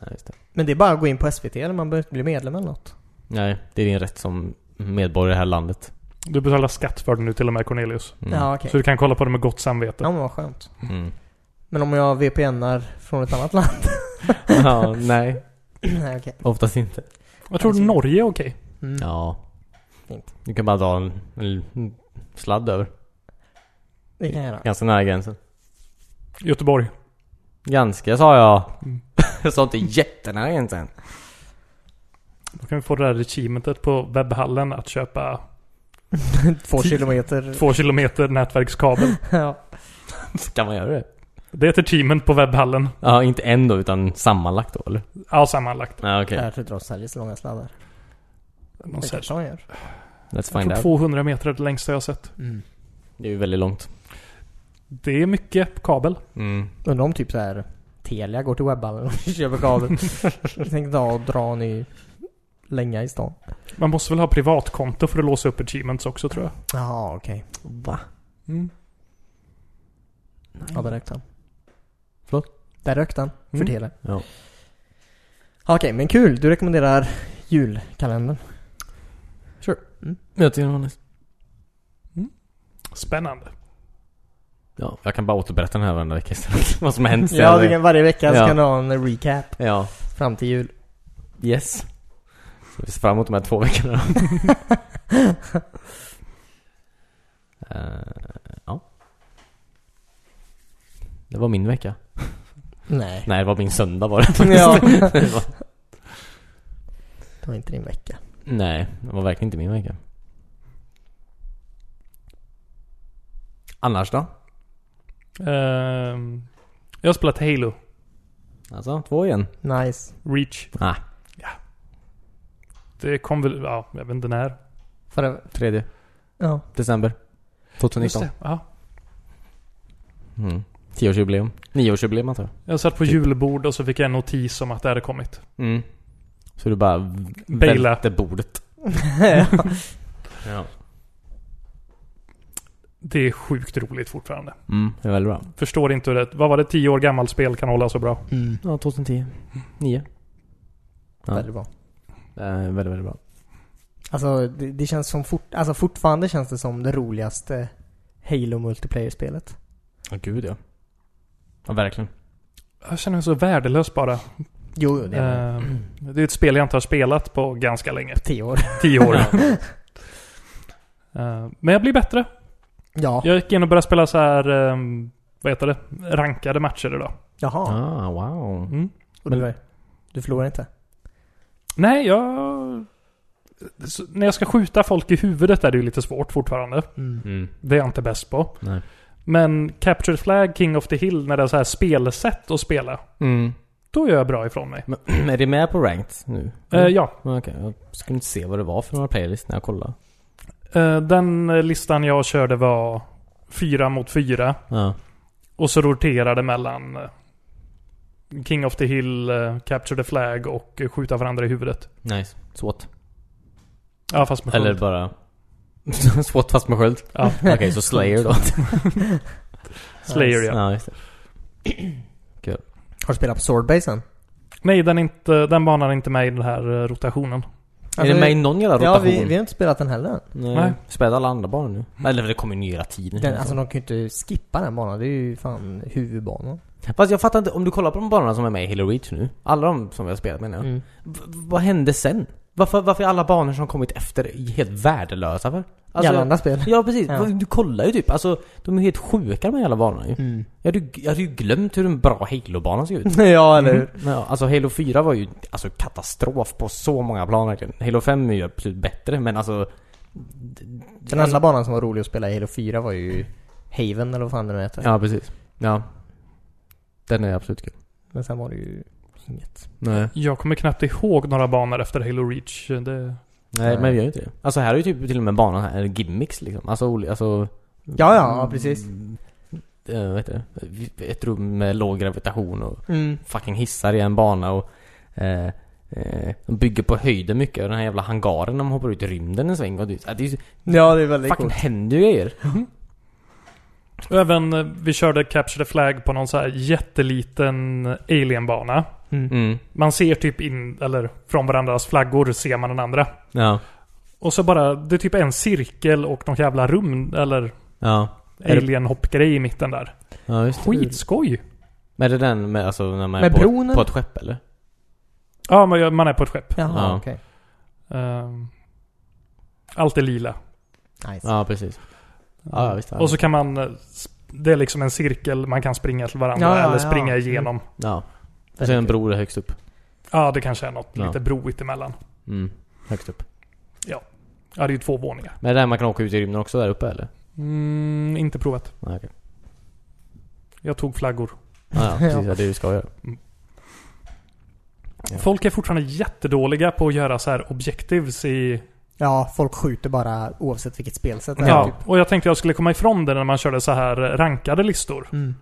Speaker 3: Nej, just det.
Speaker 1: Men det är bara att gå in på SVT eller man behöver inte bli medlem eller något.
Speaker 3: Nej, det är din rätt som medborgare i det här landet.
Speaker 2: Du betalar skatt för det nu till och med Cornelius.
Speaker 3: Mm.
Speaker 1: Ja, okej.
Speaker 2: Så du kan kolla på det med gott samvete.
Speaker 1: Ja, men vad skönt.
Speaker 3: Mm.
Speaker 1: Men om jag VPNar från ett annat land?
Speaker 3: ja, nej.
Speaker 1: Nej, okej.
Speaker 3: Oftast inte.
Speaker 2: Jag tror Norge är okej.
Speaker 1: Mm.
Speaker 3: Ja.
Speaker 1: Fint.
Speaker 3: Du kan bara dra en, en sladd över.
Speaker 1: Det kan jag göra.
Speaker 3: Ganska nära gränsen.
Speaker 2: Göteborg.
Speaker 3: Ganska sa jag.
Speaker 2: Mm.
Speaker 3: jag sa inte jättenära gränsen.
Speaker 2: Då kan vi få det där achievementet på webbhallen att köpa
Speaker 1: Två kilometer.
Speaker 2: två kilometer nätverkskabel.
Speaker 1: ja.
Speaker 3: Kan man göra det?
Speaker 2: Det är ett achievement på webbhallen.
Speaker 3: Ja, inte en då utan sammanlagt då eller?
Speaker 2: Ja, sammanlagt.
Speaker 3: Ja okej.
Speaker 1: Lär sig dra så här så långa sladdar.
Speaker 2: Någon
Speaker 1: Det
Speaker 2: sätt.
Speaker 1: kanske han gör.
Speaker 3: Let's
Speaker 2: Jag
Speaker 3: find
Speaker 2: tror
Speaker 3: out.
Speaker 2: 200 meter är det längsta jag har sett.
Speaker 1: Mm.
Speaker 3: Det är ju väldigt långt.
Speaker 2: Det är mycket kabel.
Speaker 3: Mm.
Speaker 1: Undrar om typ så här Telia går till webbhallen och köper kabel. Jag tänkte ta och dra en ny länga i stan.
Speaker 2: Man måste väl ha privatkonto för att låsa upp achievements också tror jag.
Speaker 1: Jaha, okej.
Speaker 3: Va? Mm.
Speaker 1: Ja, där rökte han.
Speaker 3: Förlåt?
Speaker 1: Där rökte han. För
Speaker 2: Mm.
Speaker 1: Telia.
Speaker 3: Ja.
Speaker 1: Ja, Okej, men kul. Du rekommenderar julkalendern.
Speaker 3: Jag tycker det var nice.
Speaker 2: Spännande.
Speaker 3: Ja, jag kan bara återberätta den här varenda vecka istället. Vad som har hänt.
Speaker 1: Ja, du kan, varje vecka så
Speaker 3: Ja.
Speaker 1: kan du ha en recap
Speaker 3: ja.
Speaker 1: fram till jul.
Speaker 3: Yes. Så vi ser fram emot de här två veckorna då. Eh, ja. Det var min vecka.
Speaker 1: Nej,
Speaker 3: Nej, det var min söndag var det faktiskt.
Speaker 1: Ja.
Speaker 3: det var,
Speaker 1: det var inte din vecka.
Speaker 3: nej, det var verkligen inte min vecka. Annars då?
Speaker 2: Ehm, jag har spelat Halo.
Speaker 3: Alltså, två igen.
Speaker 1: Nice.
Speaker 2: Reach.
Speaker 3: Ah.
Speaker 2: Ja. Det kom väl, ja, jag vet inte när.
Speaker 1: Förra...
Speaker 3: Tredje
Speaker 1: Ja.
Speaker 3: december 2019.
Speaker 2: det. Ja.
Speaker 3: Mm. Tioårsjubileum. Nioårsjubileum antar jag.
Speaker 2: Jag satt på
Speaker 3: Typ.
Speaker 2: julbord och så fick jag en notis om att det hade kommit.
Speaker 3: Mm. Så du bara v-
Speaker 2: Baila.
Speaker 3: välter bordet. Ja.
Speaker 2: Det är sjukt roligt fortfarande.
Speaker 3: Mm, det är väldigt bra.
Speaker 2: Förstår inte hur det... Vad var det? 10 år gammalt spel kan hålla så bra.
Speaker 1: Mm.
Speaker 3: Ja, 2010. 9. Ja.
Speaker 1: Väldigt bra.
Speaker 3: Det är Eh, väldigt, väldigt bra.
Speaker 1: Alltså det, det känns som fort, alltså fortfarande känns det som det roligaste Halo multiplayer-spelet.
Speaker 3: Ja, gud ja. Ja, verkligen.
Speaker 2: Jag känner mig så värdelös bara.
Speaker 1: Jo, jo, det är
Speaker 2: Eh, Det är ett spel jag inte har spelat på ganska länge.
Speaker 1: tio år.
Speaker 2: 10 år. Eh, Men jag blir bättre.
Speaker 1: Ja.
Speaker 2: Jag gick in och började spela så här... eh, Vad heter det? Rankade matcher idag.
Speaker 1: Jaha.
Speaker 3: Ah, wow.
Speaker 2: Mm.
Speaker 1: Och du, du förlorar inte?
Speaker 2: Nej, jag... Så, när jag ska skjuta folk i huvudet är det ju lite svårt fortfarande.
Speaker 3: Mm.
Speaker 2: Det är jag inte bäst på.
Speaker 3: Nej.
Speaker 2: Men Captured Flag, King of the Hill, när det är så här spelsätt att spela.
Speaker 3: Mm.
Speaker 2: Då gör jag bra ifrån mig.
Speaker 3: Men är det med på ranked nu?
Speaker 2: Eh, ja,
Speaker 3: Ja, Okej, jag skulle inte se vad det var för några playlist när jag kollade.
Speaker 2: eh, den eh, listan jag körde var fyra mot fyra.
Speaker 3: Ja.
Speaker 2: Och så roterade mellan eh, King of the Hill, eh, Capture the Flag och eh, skjuta varandra i huvudet.
Speaker 3: Nice. Swat.
Speaker 2: Ja, fast med
Speaker 3: Eller
Speaker 2: sköld.
Speaker 3: bara... Swat fast med sköld.
Speaker 2: Ja,
Speaker 3: Okej, så Slayer då.
Speaker 2: Slayer ja.
Speaker 3: ja, just det.
Speaker 1: Har du spelat på Swordbasen?
Speaker 2: Nej, den, är inte, den banan är inte med i den här eh, rotationen.
Speaker 1: Alltså,
Speaker 3: är det med i någon jävla rotation?
Speaker 1: Ja, vi, vi har inte spelat den heller än.
Speaker 3: Nej.
Speaker 2: Nej.
Speaker 3: Spelar alla andra barn nu? Mm. Eller det kommer ju nya hela tiden.
Speaker 1: Den, alltså de kan ju inte skippa den banan. Det är ju fan huvudbanan.
Speaker 3: Fast jag fattar inte, om du kollar på de banorna som är med i Halo Reach nu. Alla de som vi har spelat menar jag.
Speaker 1: Mm.
Speaker 3: V- vad hände sen? Varför, varför är alla banor som kommit efter helt värdelösa för? Alltså,
Speaker 1: I alla andra spel.
Speaker 3: Ja precis,
Speaker 1: Ja.
Speaker 3: du kollar ju typ. Alltså de är ju helt sjuka de här jävla banorna ju.
Speaker 1: Mm.
Speaker 3: Jag hade, ju- jag hade ju glömt hur en bra Halo-bana såg ut.
Speaker 1: ja, eller hur?
Speaker 3: Men, ja, alltså Halo 4 var ju alltså, katastrof på så många plan verkligen. Halo 5 är ju absolut bättre men alltså...
Speaker 1: Den enda banan som var rolig att spela i Halo 4 var ju Haven eller vad fan den heter.
Speaker 3: Ja precis. Ja. Den är absolut kul.
Speaker 1: Men sen var det ju inget.
Speaker 3: Nej.
Speaker 2: Jag kommer knappt ihåg några banor efter Halo Reach. Det,
Speaker 3: Nej men vi gör ju inte det. Alltså här är ju typ till och med banan här, eller gimmicks liksom. Alltså, oli- alltså
Speaker 1: Ja, ja, ja, precis.
Speaker 3: Mm, eh, vad heter det? Ett rum med låg gravitation och
Speaker 1: Mm.
Speaker 3: fucking hissar i en bana och... Eh, eh, de bygger på höjden mycket och den här jävla hangaren de hoppar ut i rymden en sväng och det, det är ju...
Speaker 1: Ja, det är väldigt
Speaker 3: Fucking händer ju grejer.
Speaker 2: Och även eh, vi körde Capture the Flag på någon så här jätteliten alienbana.
Speaker 3: Mm.
Speaker 2: Man ser typ in, eller från varandras flaggor ser man den andra.
Speaker 3: Ja.
Speaker 2: Och så bara, det är typ en cirkel och någon jävla rum eller
Speaker 3: Ja. Är det-
Speaker 2: alien-hoppgrej i mitten där.
Speaker 3: Ja, just det.
Speaker 2: Skitskoj!
Speaker 3: Men är det den med, alltså, när man är
Speaker 1: Med
Speaker 3: på,
Speaker 1: bron,
Speaker 3: ett- på
Speaker 1: eller?
Speaker 3: ett skepp eller?
Speaker 2: Ja, man man är på ett skepp.
Speaker 1: Jaha,
Speaker 3: Ja.
Speaker 1: okej.
Speaker 2: Ehm, Allt är lila.
Speaker 1: Nice.
Speaker 3: Ja, precis. Ja, ja, visst. Ja.
Speaker 2: Och så kan man... eh, sp- Det är liksom en cirkel man kan springa till varandra
Speaker 1: Ja, ja,
Speaker 2: eller
Speaker 1: ja.
Speaker 2: springa
Speaker 3: Mm.
Speaker 2: igenom.
Speaker 3: Ja. Och så är en bro där högst upp.
Speaker 2: Ja, det kanske är något
Speaker 3: Ja.
Speaker 2: lite broigt emellan.
Speaker 3: Mm. Högst upp.
Speaker 2: Ja, det är ju två våningar.
Speaker 3: Men är det där man kan åka ut i rymden också där uppe eller?
Speaker 2: Mm, inte provat.
Speaker 3: Nej, okej.
Speaker 2: Jag tog flaggor.
Speaker 3: Ja, ja, precis. Ja, det är det vi ska göra. Ja.
Speaker 2: Folk är fortfarande jättedåliga på att göra så här objectives i...
Speaker 1: Ja, folk skjuter bara oavsett vilket spelsätt det är.
Speaker 2: Ja,
Speaker 1: Typ.
Speaker 2: och jag tänkte jag skulle komma ifrån det när man körde så här rankade listor.
Speaker 1: Mm.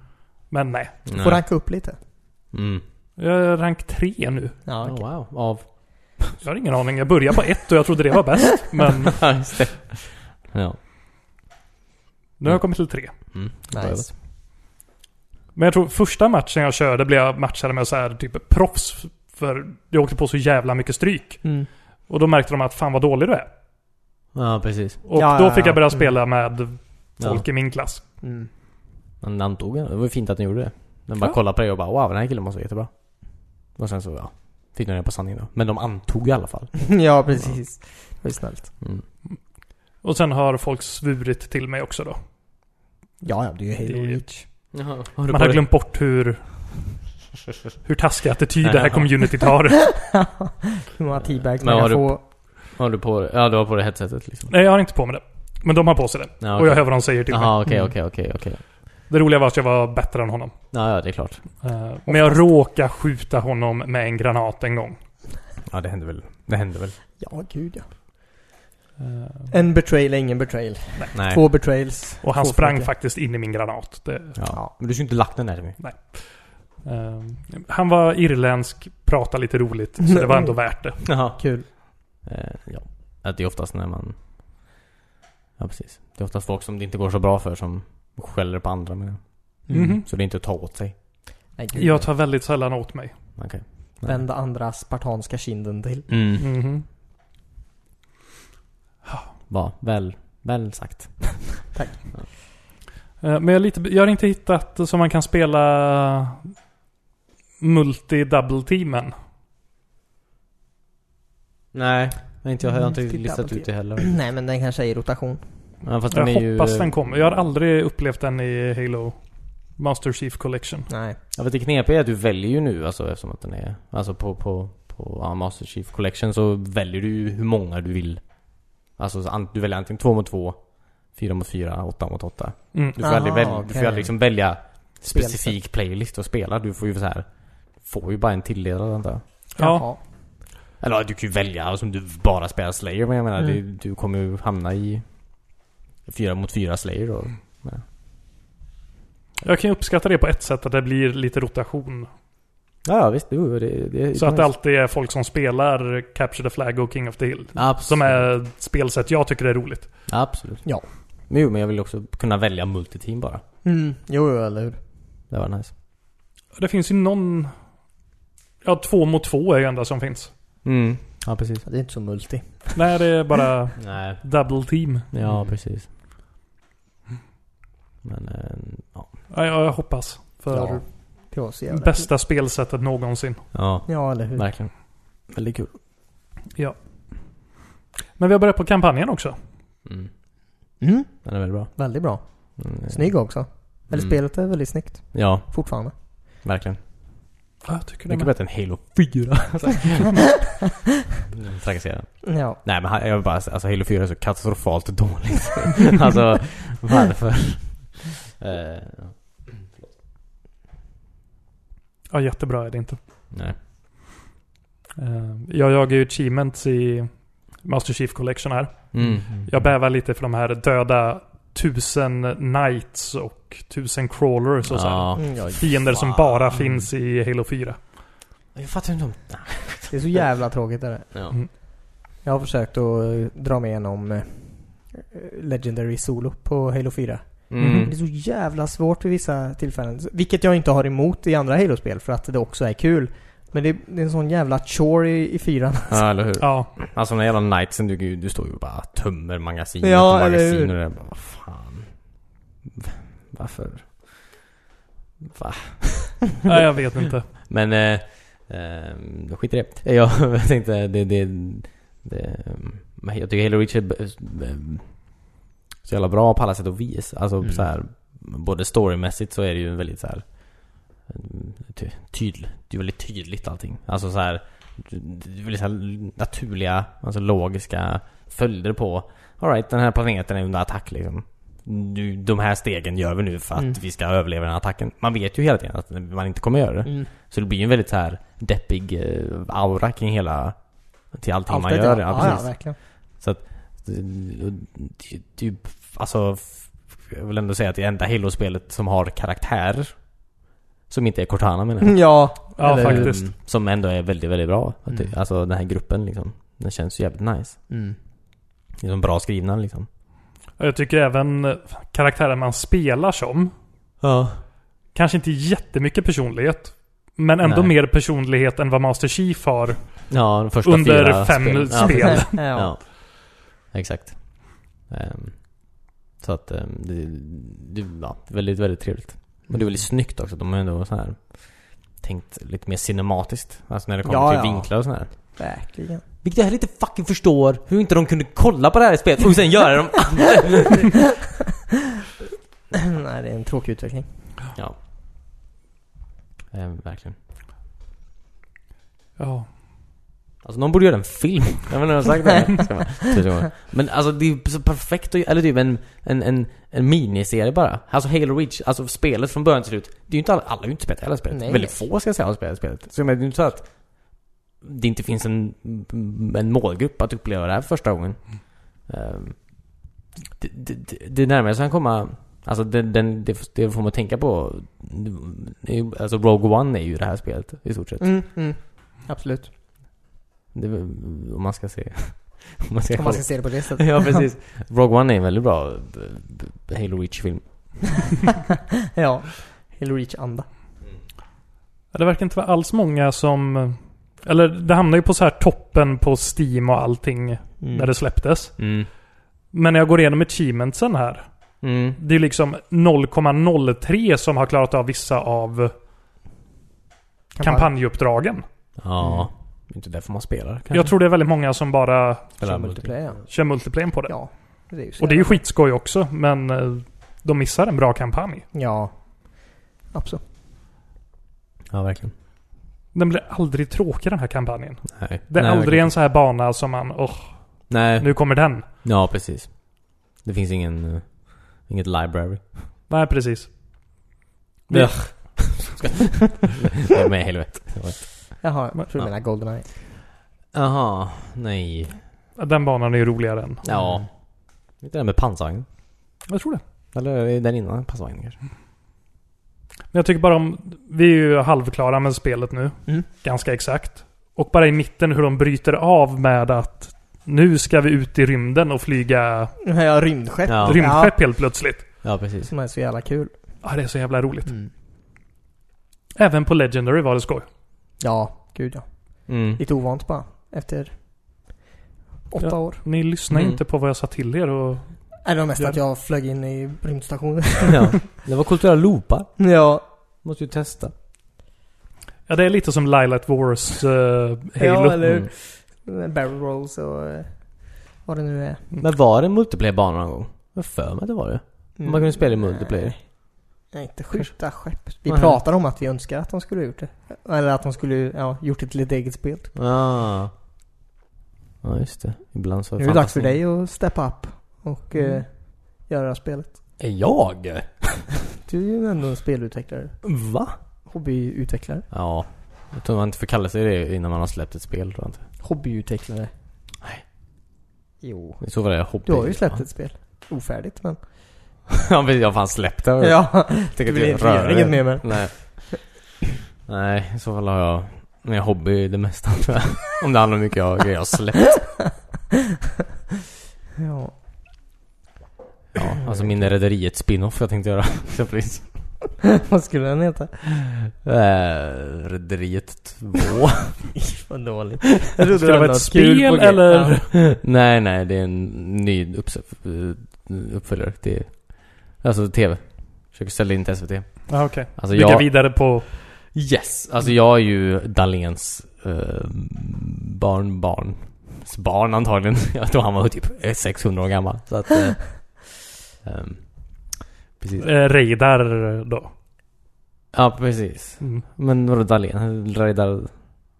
Speaker 2: Men nej.
Speaker 1: Du får ranka upp lite.
Speaker 3: Mm.
Speaker 2: Jag är rank 3 nu.
Speaker 1: Ja, okej.
Speaker 3: Oh, wow. Av...
Speaker 2: Jag har ingen aning. Jag började på 1 och jag trodde det var bäst. Men
Speaker 3: Ja, just det. Ja.
Speaker 2: nu har jag kommit till 3.
Speaker 3: Mm.
Speaker 1: Nice.
Speaker 2: Men jag tror första matchen jag körde blev jag matchad med så här typ proffs. För jag åkte på så jävla mycket stryk.
Speaker 1: Mm.
Speaker 2: Och då märkte de att fan vad dålig du är.
Speaker 3: Ja, precis.
Speaker 2: Och
Speaker 1: Ja,
Speaker 2: då
Speaker 1: ja,
Speaker 2: fick
Speaker 1: ja.
Speaker 2: jag börja
Speaker 1: Mm.
Speaker 2: spela med
Speaker 3: Ja.
Speaker 2: folk i min klass.
Speaker 1: Mm.
Speaker 3: Men han tog den. Det var ju fint att ni gjorde det. Den bara
Speaker 2: Ja.
Speaker 3: kollade på dig och bara wow, den här killen måste vara jättebra. Och sen så, ja. Fick ni reda på sanningen då. Men de antog i alla fall.
Speaker 1: ja, precis. Det var ju snällt.
Speaker 3: Mm.
Speaker 2: Och sen har folk svurit till mig också då.
Speaker 1: Ja, ja, det är ju Halo
Speaker 2: Det-
Speaker 1: Reach.
Speaker 3: Har du
Speaker 2: Man har glömt bort hur, hur taskig attityd det här communityt har.
Speaker 1: Hur många teabags
Speaker 3: Men
Speaker 1: man
Speaker 3: har
Speaker 1: kan
Speaker 3: du-
Speaker 1: få.
Speaker 3: Har du på dig? Ja, du har på dig headsetet liksom.
Speaker 2: Nej, jag har inte på mig det. Men de har på sig det.
Speaker 3: Ja,
Speaker 2: Och
Speaker 3: okej.
Speaker 2: jag hör vad de säger till mig.
Speaker 3: Jaha, okej, okej, okej, okej.
Speaker 2: Det roliga var att jag var bättre än honom.
Speaker 3: Ja, ja, det är klart.
Speaker 2: Eh, Men jag råkade skjuta honom med en granat en gång.
Speaker 3: Ja, det hände väl. Det hände väl.
Speaker 1: Ja, gud ja.
Speaker 2: Eh,
Speaker 1: En betrayal är ingen betrayal.
Speaker 3: Nej.
Speaker 1: Två betrails.
Speaker 2: Och han
Speaker 1: två
Speaker 2: sprang
Speaker 1: förlåter.
Speaker 2: faktiskt in i min granat. Det,
Speaker 3: Ja. Men du skulle inte lagt den där till mig.
Speaker 2: Eh, han var irländsk, pratade lite roligt. Så det var ändå värt det.
Speaker 3: Jaha.
Speaker 1: Kul.
Speaker 3: Eh, ja. Att det är oftast när man... Ja, precis. Det är oftast folk som det inte går så bra för som skäller på andra men...
Speaker 2: Mhm.
Speaker 3: Så det är inte att ta åt sig.
Speaker 1: Nej, gud.
Speaker 2: Jag tar väldigt sällan åt mig.
Speaker 3: Okej.
Speaker 1: Vända andra spartanska kinden till.
Speaker 3: Mm.
Speaker 2: Mhm.
Speaker 3: Va, väl, väl sagt.
Speaker 2: Eh, Men jag, är lite, jag har inte hittat så man kan spela multi-double-teamen.
Speaker 3: Nej. Men inte jag har inte
Speaker 1: Mm,
Speaker 3: listat ut det heller.
Speaker 1: Nej men den kanske är i rotation.
Speaker 3: Ja, fast
Speaker 2: Jag
Speaker 3: den är ju... eh,
Speaker 2: hoppas den kommer. Jag har aldrig upplevt den i Halo Master Chief Collection.
Speaker 1: Nej.
Speaker 3: Ja, fast det knepiga är att du väljer ju nu alltså eftersom att den är... Alltså på, på, på ja, Master Chief Collection så väljer du ju hur många du vill. Alltså så an- du väljer antingen två mot två, fyra mot fyra, åtta mot åtta.
Speaker 2: Mm.
Speaker 3: Du får
Speaker 1: Ah,
Speaker 3: aldrig, väl, du får
Speaker 1: okej.
Speaker 3: aldrig liksom välja specifik
Speaker 1: Spelsätt.
Speaker 3: playlist att spela. Du får ju så här Får ju bara en tilldelad antar jag.
Speaker 2: Ja.
Speaker 1: Jaha.
Speaker 3: Eller ja, du kan ju välja som du bara spelar Slayer men jag menar
Speaker 1: Mm.
Speaker 3: det, du kommer ju hamna i fyra mot fyra Slayer då.
Speaker 2: Jag kan ju uppskatta det på ett sätt att det blir lite rotation.
Speaker 3: Ja, ja visst. Jo, det, det,
Speaker 2: Så att det alltid är folk som spelar Capture the Flag och King of the Hill.
Speaker 3: Absolut.
Speaker 2: Som är spelsätt jag tycker är roligt.
Speaker 3: Absolut.
Speaker 1: Ja.
Speaker 3: Men jo, men jag vill också kunna välja multiteam bara.
Speaker 1: Mm. Jo, jo, eller hur.
Speaker 3: Det var nice.
Speaker 2: Det finns ju någon... Ja, två mot två är ju enda som finns.
Speaker 3: Mm. Ja, precis.
Speaker 1: Så Det är inte så multi.
Speaker 2: Nej, det är bara
Speaker 3: Nej. Mm.
Speaker 2: double team.
Speaker 3: Ja, precis. Men, eh, ja.
Speaker 2: Ja, jag hoppas. För
Speaker 1: Ja. Det var så jävla
Speaker 2: bästa spelsättet någonsin.
Speaker 3: Ja,
Speaker 1: Ja, eller hur.
Speaker 3: verkligen. Väldigt kul.
Speaker 2: Men vi har börjat på kampanjen också.
Speaker 3: Mm.
Speaker 1: Mm.
Speaker 3: Den är väldigt bra.
Speaker 1: Väldigt bra.
Speaker 3: Mm.
Speaker 1: Snygg också. Eller
Speaker 3: Mm.
Speaker 1: spelet är väldigt snyggt.
Speaker 3: Ja,
Speaker 1: Fortfarande.
Speaker 3: verkligen.
Speaker 2: Ja, jag tycker det
Speaker 3: Mycket
Speaker 2: med.
Speaker 3: bättre än Halo Alltså. 4.
Speaker 1: Mm.
Speaker 3: Trakasserar.
Speaker 1: Ja.
Speaker 3: Nej men han- jag vill bara säga, alltså Halo 4 är så katastrofalt dåligt. alltså, varför? Eh,
Speaker 2: Ja, jättebra är det inte.
Speaker 3: nej.
Speaker 2: Eh, Jag jagar ju achievements i Master Chief Collection här.
Speaker 3: Mm.
Speaker 2: Jag bävar lite för de här döda tusen knights och tusen crawlers och så här.
Speaker 3: Ja.
Speaker 1: Mm, ja.
Speaker 2: Fiender som
Speaker 3: Fan.
Speaker 2: bara finns i Halo 4.
Speaker 3: Jag fattar inte om...
Speaker 1: Det är så jävla tråkigt är det.
Speaker 3: Ja.
Speaker 1: Jag har försökt att eh, dra mig igenom eh, Legendary Solo på Halo 4.
Speaker 2: Mm.
Speaker 1: Men det är så jävla svårt vid vissa tillfällen. Vilket jag inte har emot i andra Halo-spel för att det också är kul. Men det, det är en sån jävla chore i, i fyran.
Speaker 3: Ja, eller hur?
Speaker 2: Ja,
Speaker 3: Alltså den här jävla knightsen, du, du står ju och bara tömmer magasinet
Speaker 1: Ja,
Speaker 3: och magasin
Speaker 1: eller
Speaker 3: och
Speaker 1: hur?
Speaker 3: det där. Bara, vad fan. Varför? Va?
Speaker 2: nej, jag vet inte.
Speaker 3: Men, eh, eh, skit i det. Eh, Jag tänkte, det, det, det men Jag tycker Halo Reach är b- b- så jävla bra på alla sätt och vis. Alltså
Speaker 1: Mm.
Speaker 3: så här, både storymässigt så är det ju en väldigt så här mm, ty- tydl, det är väldigt tydligt allting. Alltså så här, det är väldigt så här naturliga, alltså logiska följder på Alright, den här planeten är under attack liksom. Du, de här stegen gör vi nu för att
Speaker 1: Mm.
Speaker 3: vi ska överleva den här attacken. Man vet ju hela tiden att man inte kommer göra
Speaker 1: Mm.
Speaker 3: det.
Speaker 2: Mm.
Speaker 3: Så det blir ju en väldigt så här deppig eh, aura kring hela... Till allting man
Speaker 1: det
Speaker 3: gör. Ja,
Speaker 1: ja, ja,
Speaker 3: precis.
Speaker 1: verkligen.
Speaker 3: Det- det är ju- Alltså... f- Jag vill ändå säga att det enda Halo-spelet som har karaktärer. Som inte är Cortana menar jag.
Speaker 1: Ja.
Speaker 2: Ja,
Speaker 1: Eller-
Speaker 2: faktiskt.
Speaker 3: Mm, Som ändå är väldigt, väldigt bra. Att det-
Speaker 1: Mm.
Speaker 3: Alltså den här gruppen liksom. Den känns ju jävligt nice.
Speaker 1: Mm.
Speaker 3: Det är som bra skrivna liksom.
Speaker 2: Jag tycker även karaktären man spelar som.
Speaker 3: Ja.
Speaker 2: Kanske inte jättemycket personlighet. Men ändå
Speaker 3: Nej.
Speaker 2: mer personlighet än vad Master Chief har.
Speaker 3: Ja, de första
Speaker 2: Under
Speaker 3: fyra
Speaker 2: fem
Speaker 3: spelen. Ja,
Speaker 2: spel.
Speaker 3: precis.
Speaker 1: ja.
Speaker 3: Ja. Exakt. Ehm, så att ehm, det, det, ja, det är väldigt, väldigt trevligt. Men det är väldigt snyggt också. De har ändå så här tänkt lite mer cinematiskt. Alltså när det kommer
Speaker 1: Ja,
Speaker 3: till
Speaker 1: ja.
Speaker 3: vinklar och sådär.
Speaker 1: Verkligen.
Speaker 3: Vilket jag heller inte fucking förstår hur inte de kunde kolla på det här spelet och sen göra de andra.
Speaker 1: Nej, det är en tråkig utveckling.
Speaker 3: ja. Ehm, verkligen.
Speaker 2: Ja.
Speaker 3: Alltså någon borde göra en film. Jag vet inte om jag har sagt det här. Ska man- tusen gånger. Men alltså det är ju så perfekt att Eller typ en, en, en, en miniserie bara. Alltså Halo Reach, alltså spelet från början till slut. Det är ju inte alla, alla har ju inte spelat hela spelet.
Speaker 1: Nej.
Speaker 3: Väldigt få ska jag säga har spelat spelet. Så jag menar, det är ju inte så att det inte finns en, en målgrupp att uppleva det här för första gången. Ehm, det, det, det, det närmare jag kan komma Alltså den, den, det, det får man tänka på. Det är ju- Alltså Rogue One är ju det här spelet i stort sett.
Speaker 1: Mm, mm. Absolut.
Speaker 3: Det, är väl- om man ska se. om man ska,
Speaker 1: Om man ska se det på det sättet.
Speaker 3: Ja precis. Rogue One är en väldigt bra b- b- Halo Reach-film.
Speaker 1: ja. Halo Reach-anda.
Speaker 2: Ja, Det verkar inte vara alls många som... Eller det hamnar ju på så här toppen på Steam och allting när det släpptes.
Speaker 3: Mm.
Speaker 2: Men när jag går igenom achievementsen här.
Speaker 3: Mm.
Speaker 2: Det är liksom 0,03 som har klarat av vissa av kampanjuppdragen.
Speaker 3: Ja. Det är inte därför man spelar kanske.
Speaker 2: Jag tror det är väldigt många som bara
Speaker 3: Spelar
Speaker 1: Kör multiplayer. ja.
Speaker 2: kör multiplayer på det.
Speaker 1: Ja. Det är ju så
Speaker 2: och det är ju
Speaker 1: jävla-
Speaker 2: skitskoj också, men eh, de missar en bra kampanj.
Speaker 1: Ja. Absolut.
Speaker 3: Ja, verkligen.
Speaker 2: Den blir aldrig tråkig den här kampanjen.
Speaker 3: Nej.
Speaker 2: Det är
Speaker 3: Nej,
Speaker 2: aldrig
Speaker 3: verkligen.
Speaker 2: en så här bana som man, åh,
Speaker 3: Nej.
Speaker 2: nu kommer den.
Speaker 3: Ja, precis. Det finns ingen... eh, Inget library.
Speaker 2: Nej, precis. Vi-
Speaker 3: Ja. Nej, men helvete.
Speaker 1: Jaha,
Speaker 2: Men-
Speaker 1: jag tror du
Speaker 3: ja.
Speaker 1: menar Goldeneye.
Speaker 3: Jaha. Nej.
Speaker 2: Den banan är ju roligare än...
Speaker 3: Ja. Inte den med pansarvagnen.
Speaker 2: Jag tror det.
Speaker 3: Eller är den innan pansarvagnen kanske.
Speaker 2: Men jag tycker bara om... Vi är ju halvklara med spelet nu.
Speaker 1: Mm.
Speaker 2: Ganska exakt. Och bara i mitten hur de bryter av med att nu ska vi ut i rymden och flyga
Speaker 1: Ja, rymdskepp.
Speaker 3: Ja.
Speaker 2: rymdskepp helt plötsligt.
Speaker 3: Ja, precis.
Speaker 1: Som är så jävla kul.
Speaker 2: Ja, det är så jävla roligt. Även på Legendary var det skoj.
Speaker 1: Ja, gud ja.
Speaker 3: Mm.
Speaker 1: Lite ovant bara. Efter åtta
Speaker 2: Ja.
Speaker 1: år.
Speaker 2: Ni lyssnar
Speaker 3: Mm.
Speaker 2: inte på vad jag sa till er och...
Speaker 1: Nej, det var mest
Speaker 2: Ja.
Speaker 1: att jag flög in i rymdstationen.
Speaker 3: Ja. Det var kulturella loopar.
Speaker 1: ja.
Speaker 3: Måste ju testa.
Speaker 2: Ja, det är lite som Lilat Wars eh, Halo.
Speaker 1: Ja, eller
Speaker 3: Mm.
Speaker 1: barrel rolls och eh, vad det nu är.
Speaker 3: Men var det en multiplayer-bana någon gång? Jag har för mig att det var det.
Speaker 1: Mm.
Speaker 3: Man kunde spela i multiplayer.
Speaker 1: Nej, inte skjuta skepp. Vi
Speaker 3: Nej.
Speaker 1: pratade om att vi önskar att de skulle ha gjort det. Eller att de skulle, ja, gjort det till ett eget spel.
Speaker 3: Ah. Ja, just det. Ibland så...
Speaker 1: Nu är det dags för
Speaker 3: fantasin-
Speaker 1: dig att steppa upp och eh, göra spelet.
Speaker 3: Är jag?
Speaker 1: Du är ju ändå en spelutvecklare.
Speaker 3: Va?
Speaker 1: Hobbyutvecklare.
Speaker 3: Ja. Jag tror man inte får kalla sig det innan man har släppt ett spel, tror jag inte.
Speaker 1: Hobbyutvecklare.
Speaker 3: Nej.
Speaker 1: Jo.
Speaker 3: I så fall är jag hobby.
Speaker 1: Du har ju släppt ett spel. Ofärdigt men.
Speaker 3: ja, men jag har fan släppt det.
Speaker 1: Ja.
Speaker 3: Jag
Speaker 1: Du
Speaker 3: tänker
Speaker 1: vill
Speaker 3: jag
Speaker 1: inte
Speaker 3: rör
Speaker 1: göra
Speaker 3: det.
Speaker 1: inget mer med det.
Speaker 3: Nej. Nej, i så fall har jag... Men jag hobby det mesta, tror jag. Om det handlar om hur mycket jag, grejer jag har släppt.
Speaker 1: Ja.
Speaker 3: Ja, alltså min rederiet spin-off jag tänkte göra, exempelvis.
Speaker 1: Vad skulle den heta?
Speaker 3: Eh, Rederiet 2.
Speaker 1: Vad dåligt.
Speaker 2: det skulle vara ett spel eller...
Speaker 3: nej, nej, det är en ny upps- eh, uppföljare till... Alltså TV. Försöker sälja in till SVT.
Speaker 2: Ja, okej.
Speaker 3: Alltså
Speaker 2: Bygga
Speaker 3: jag...
Speaker 2: vidare på...
Speaker 3: Yes! Alltså jag är ju Dahléns eh, barnbarn. Barn antagligen. Jag tror han var typ 600 år gammal. Så att... Eh, ehm, precis.
Speaker 2: Eh, radar då.
Speaker 3: Ja, precis.
Speaker 2: Mm.
Speaker 3: Men vadå Dahlén? Reidar...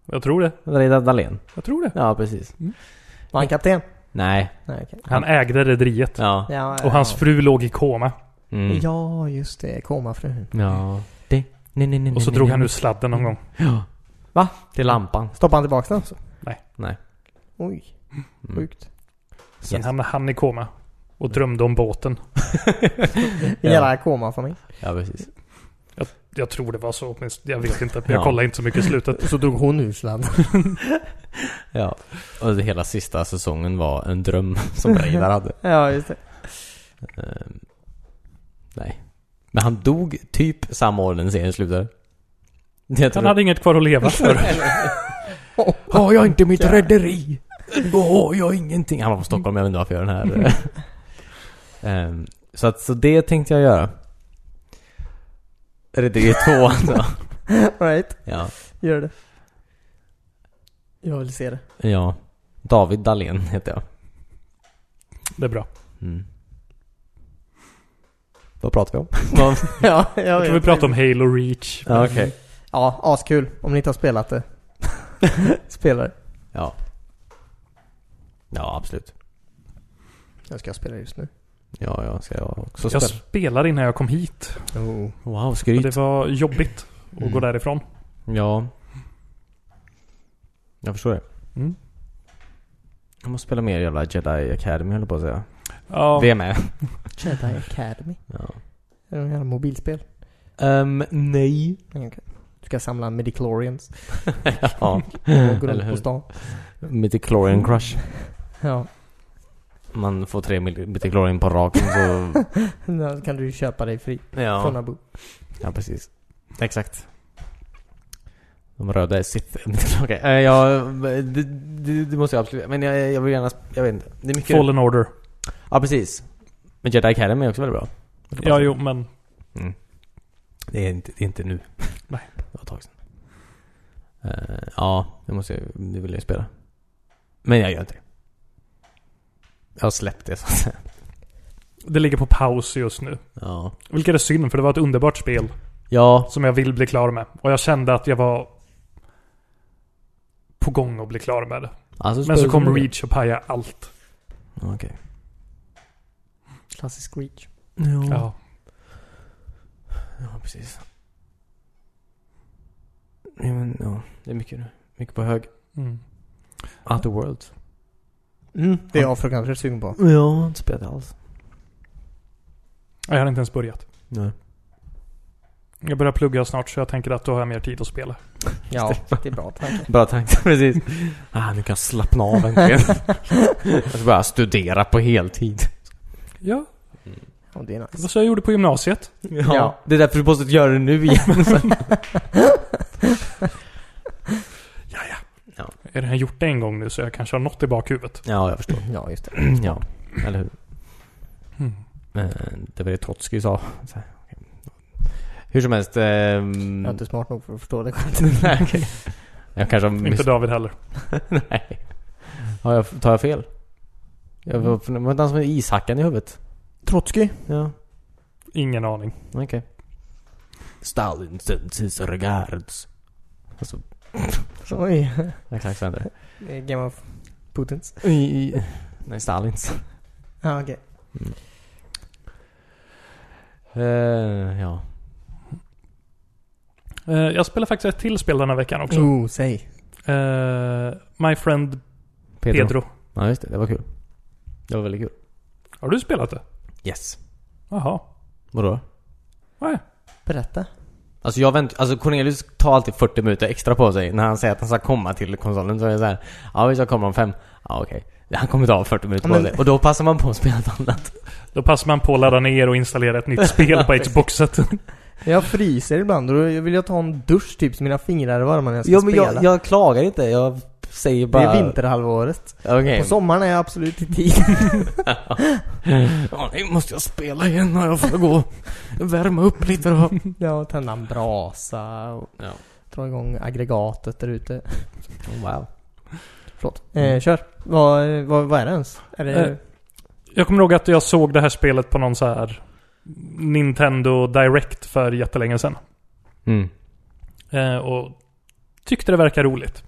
Speaker 2: Jag tror det.
Speaker 3: Reidar Dahlén?
Speaker 2: Jag tror det.
Speaker 3: Ja, precis.
Speaker 1: Var han kapten?
Speaker 3: Nej.
Speaker 1: Nej okej.
Speaker 2: Han ägde rederiet.
Speaker 3: Ja.
Speaker 1: Ja,
Speaker 2: Och hans
Speaker 1: ja.
Speaker 2: fru låg i koma.
Speaker 3: Mm.
Speaker 1: Ja just det, komafrun.
Speaker 3: Ja. Det. Nej, nej, nej,
Speaker 2: Och så
Speaker 3: nej,
Speaker 2: drog
Speaker 3: nej,
Speaker 2: han
Speaker 3: nej.
Speaker 2: ur sladden någon gång.
Speaker 3: Ja. Va? Till lampan.
Speaker 1: Stoppade han tillbaka den också?
Speaker 2: Nej.
Speaker 3: Nej.
Speaker 1: Oj,
Speaker 3: Mm.
Speaker 1: sjukt.
Speaker 2: Sen
Speaker 3: Yes.
Speaker 2: hamnade han i koma. Och drömde om båten.
Speaker 1: En jävla komafamilj.
Speaker 3: Ja, precis.
Speaker 2: Jag tror det var så åtminstone. Jag vet inte. Jag
Speaker 3: Ja.
Speaker 2: kollar inte så mycket i slutet.
Speaker 1: Så drog hon ur sladden.
Speaker 3: Ja. Och det hela sista säsongen var en dröm som Reidar hade.
Speaker 1: ja just det.
Speaker 3: Ehm, nej. Men han dog typ samma år den serien slutade. Jag
Speaker 2: Han hade inget kvar att leva för.
Speaker 3: Har jag inte mitt rederi? Då har jag ingenting. Han var från Stockholm, jag vet inte varför jag gör den här. Ehm, så att, så det tänkte jag göra. Rederiet 2 alltså.
Speaker 1: Alright,
Speaker 3: Ja.
Speaker 1: gör det. Jag vill se det.
Speaker 3: Ja. David Dahlén heter jag.
Speaker 2: Det är bra.
Speaker 3: Mm. Vad pratar vi om? Vad-
Speaker 1: ja, jag,
Speaker 2: Jag
Speaker 1: vet.
Speaker 2: tror vi pratade om Halo Reach.
Speaker 3: ja, okej.
Speaker 1: Ja, askul. Om ni inte har spelat det. Spela det.
Speaker 3: Ja. Ja, absolut.
Speaker 1: Jag ska spela just nu.
Speaker 3: Ja, jag ska jag också
Speaker 2: Jag
Speaker 3: spela.
Speaker 2: spelade innan jag kom hit.
Speaker 1: Oh.
Speaker 3: Wow,
Speaker 2: Och
Speaker 3: skryt.
Speaker 2: det var jobbigt att
Speaker 3: Mm.
Speaker 2: gå därifrån.
Speaker 3: Ja. Jag förstår det.
Speaker 2: Mm.
Speaker 3: Jag måste spela mer jävla Jedi Academy höll jag på att säga.
Speaker 2: Ja,
Speaker 3: Det med.
Speaker 1: Jedi Academy.
Speaker 3: Ja.
Speaker 1: Är det någon jävla mobilspel?
Speaker 3: Ehm, nej.
Speaker 1: Nej, okej. Du ska samla Mediclorians
Speaker 3: ja.
Speaker 1: och gå
Speaker 3: Eller
Speaker 1: runt på
Speaker 3: hur?
Speaker 1: stan.
Speaker 3: Metachlorian crush.
Speaker 1: Ja.
Speaker 3: Man får tre metachlorian på raken så...
Speaker 1: Då kan du ju köpa dig fri från
Speaker 3: ja.
Speaker 1: Abu.
Speaker 3: ja, precis. Exakt. De röda är Sith. Okej, eh, ja, det, det, det måste jag absolut... Men jag, jag vill gärna... sp- Jag vet inte. Det är mycket...
Speaker 2: Fallen Order.
Speaker 3: Ja, precis. Men Jedi Academy är också väldigt bra.
Speaker 2: Ja, jo, men...
Speaker 3: Det är inte, det är inte nu.
Speaker 2: Nej.
Speaker 3: Det var ett tag sedan. Eh, ja, det måste jag Det vill jag spela. Men jag gör inte det. Jag har släppt det så att säga.
Speaker 2: Det ligger på paus just nu.
Speaker 3: Ja.
Speaker 2: Vilket är synd, för det var ett underbart spel
Speaker 3: Ja,
Speaker 2: som jag vill bli klar med. Och jag kände att jag var på gång att bli klar med det.
Speaker 3: alltså
Speaker 2: Men så
Speaker 3: spelar du
Speaker 2: kom
Speaker 3: det.
Speaker 2: Reach och pajade allt.
Speaker 3: Ja, Okej.
Speaker 1: Klassisk Reach.
Speaker 3: Ja. ja.
Speaker 2: Ja.
Speaker 3: precis. Ja, men ja. Det är mycket nu. Mycket på hög.
Speaker 2: Mm.
Speaker 3: Outer Worlds.
Speaker 1: Mm, det är jag fruktansvärt sugen på.
Speaker 3: Ja, jag har inte spelat det alls.
Speaker 2: Jag har inte ens börjat.
Speaker 3: Nej.
Speaker 2: Jag börjar plugga snart så jag tänker att då har jag mer tid att spela.
Speaker 1: Ja, det är bra tanke.
Speaker 3: Bra tanke, precis. Ah, nu kan jag slappna av äntligen. jag ska bara studera på heltid.
Speaker 2: Ja,
Speaker 1: Ja, det är
Speaker 2: det
Speaker 1: nice.
Speaker 2: var så jag gjorde på gymnasiet.
Speaker 3: Ja,
Speaker 1: Ja.
Speaker 3: det är därför du måste göra det nu igen.
Speaker 2: Jag har redan gjort det en gång nu så jag kanske har något i bakhuvudet.
Speaker 3: ja, jag förstår.
Speaker 1: Ja, just det.
Speaker 3: ja, eller hur.
Speaker 2: Mm.
Speaker 3: Men det var det Trotskij sa. Så här, okej. Hur som helst. ehm,
Speaker 1: Jag är inte smart nog för att förstå det själv.
Speaker 3: nej, okej. Jag kanske har
Speaker 2: Inte
Speaker 3: miss...
Speaker 2: David heller.
Speaker 3: Nej. Har jag, tar jag fel? Jag var, det var den som hade ishackan i huvudet.
Speaker 1: Trotskij?
Speaker 3: Ja,
Speaker 2: Ingen aning.
Speaker 3: okej. Stalin sends his regards. Alltså,
Speaker 1: Oj.
Speaker 3: exakt så händer det.
Speaker 1: Det är Game of Putins.
Speaker 3: I, i, nej, Stalins.
Speaker 1: Ja, okej.
Speaker 3: Eh, ja.
Speaker 2: Eh, Jag spelar faktiskt ett till spel den här veckan också.
Speaker 1: Oh, säg.
Speaker 2: Eh, My friend Pedro.
Speaker 3: Ja, just det. Det var kul. Det var väldigt kul.
Speaker 2: Har du spelat det?
Speaker 3: Yes.
Speaker 2: Jaha.
Speaker 3: Vadå?
Speaker 2: Nej.
Speaker 1: Berätta.
Speaker 3: Alltså jag vänt, alltså Cornelius tar alltid 40 minuter extra på sig när han säger att han ska komma till konsolen så är jag såhär Ja visst jag kommer om fem Ja okej Han kommer ta 40 minuter
Speaker 1: Ja,
Speaker 3: på
Speaker 1: men-
Speaker 3: sig och då passar man på att spela något annat
Speaker 2: Då passar man på att ladda ner och installera ett nytt spel på Xboxet.
Speaker 1: Jag fryser ibland och då vill jag ta en dusch typ så mina fingrar är varma när jag ska
Speaker 3: Ja men
Speaker 1: spela.
Speaker 3: jag, jag klagar inte, jag säger
Speaker 1: Det
Speaker 3: bara
Speaker 1: är vinterhalvåret.
Speaker 3: Okej
Speaker 1: På sommaren är jag absolut i tid.
Speaker 3: Ja, nu måste jag spela igen när jag får gå Värma upp lite då
Speaker 1: ja, tända en brasa och
Speaker 3: Ja.
Speaker 1: dra igång aggregatet där ute.
Speaker 3: Wow
Speaker 1: Förlåt.
Speaker 3: Mm.
Speaker 1: Eh, kör. Vad, vad, vad är det ens? Är det...
Speaker 2: Eh. Jag kommer ihåg att jag såg det här spelet på någon så här Nintendo Direct för jättelänge sedan.
Speaker 3: mm.
Speaker 2: Eh, och tyckte det verkade roligt.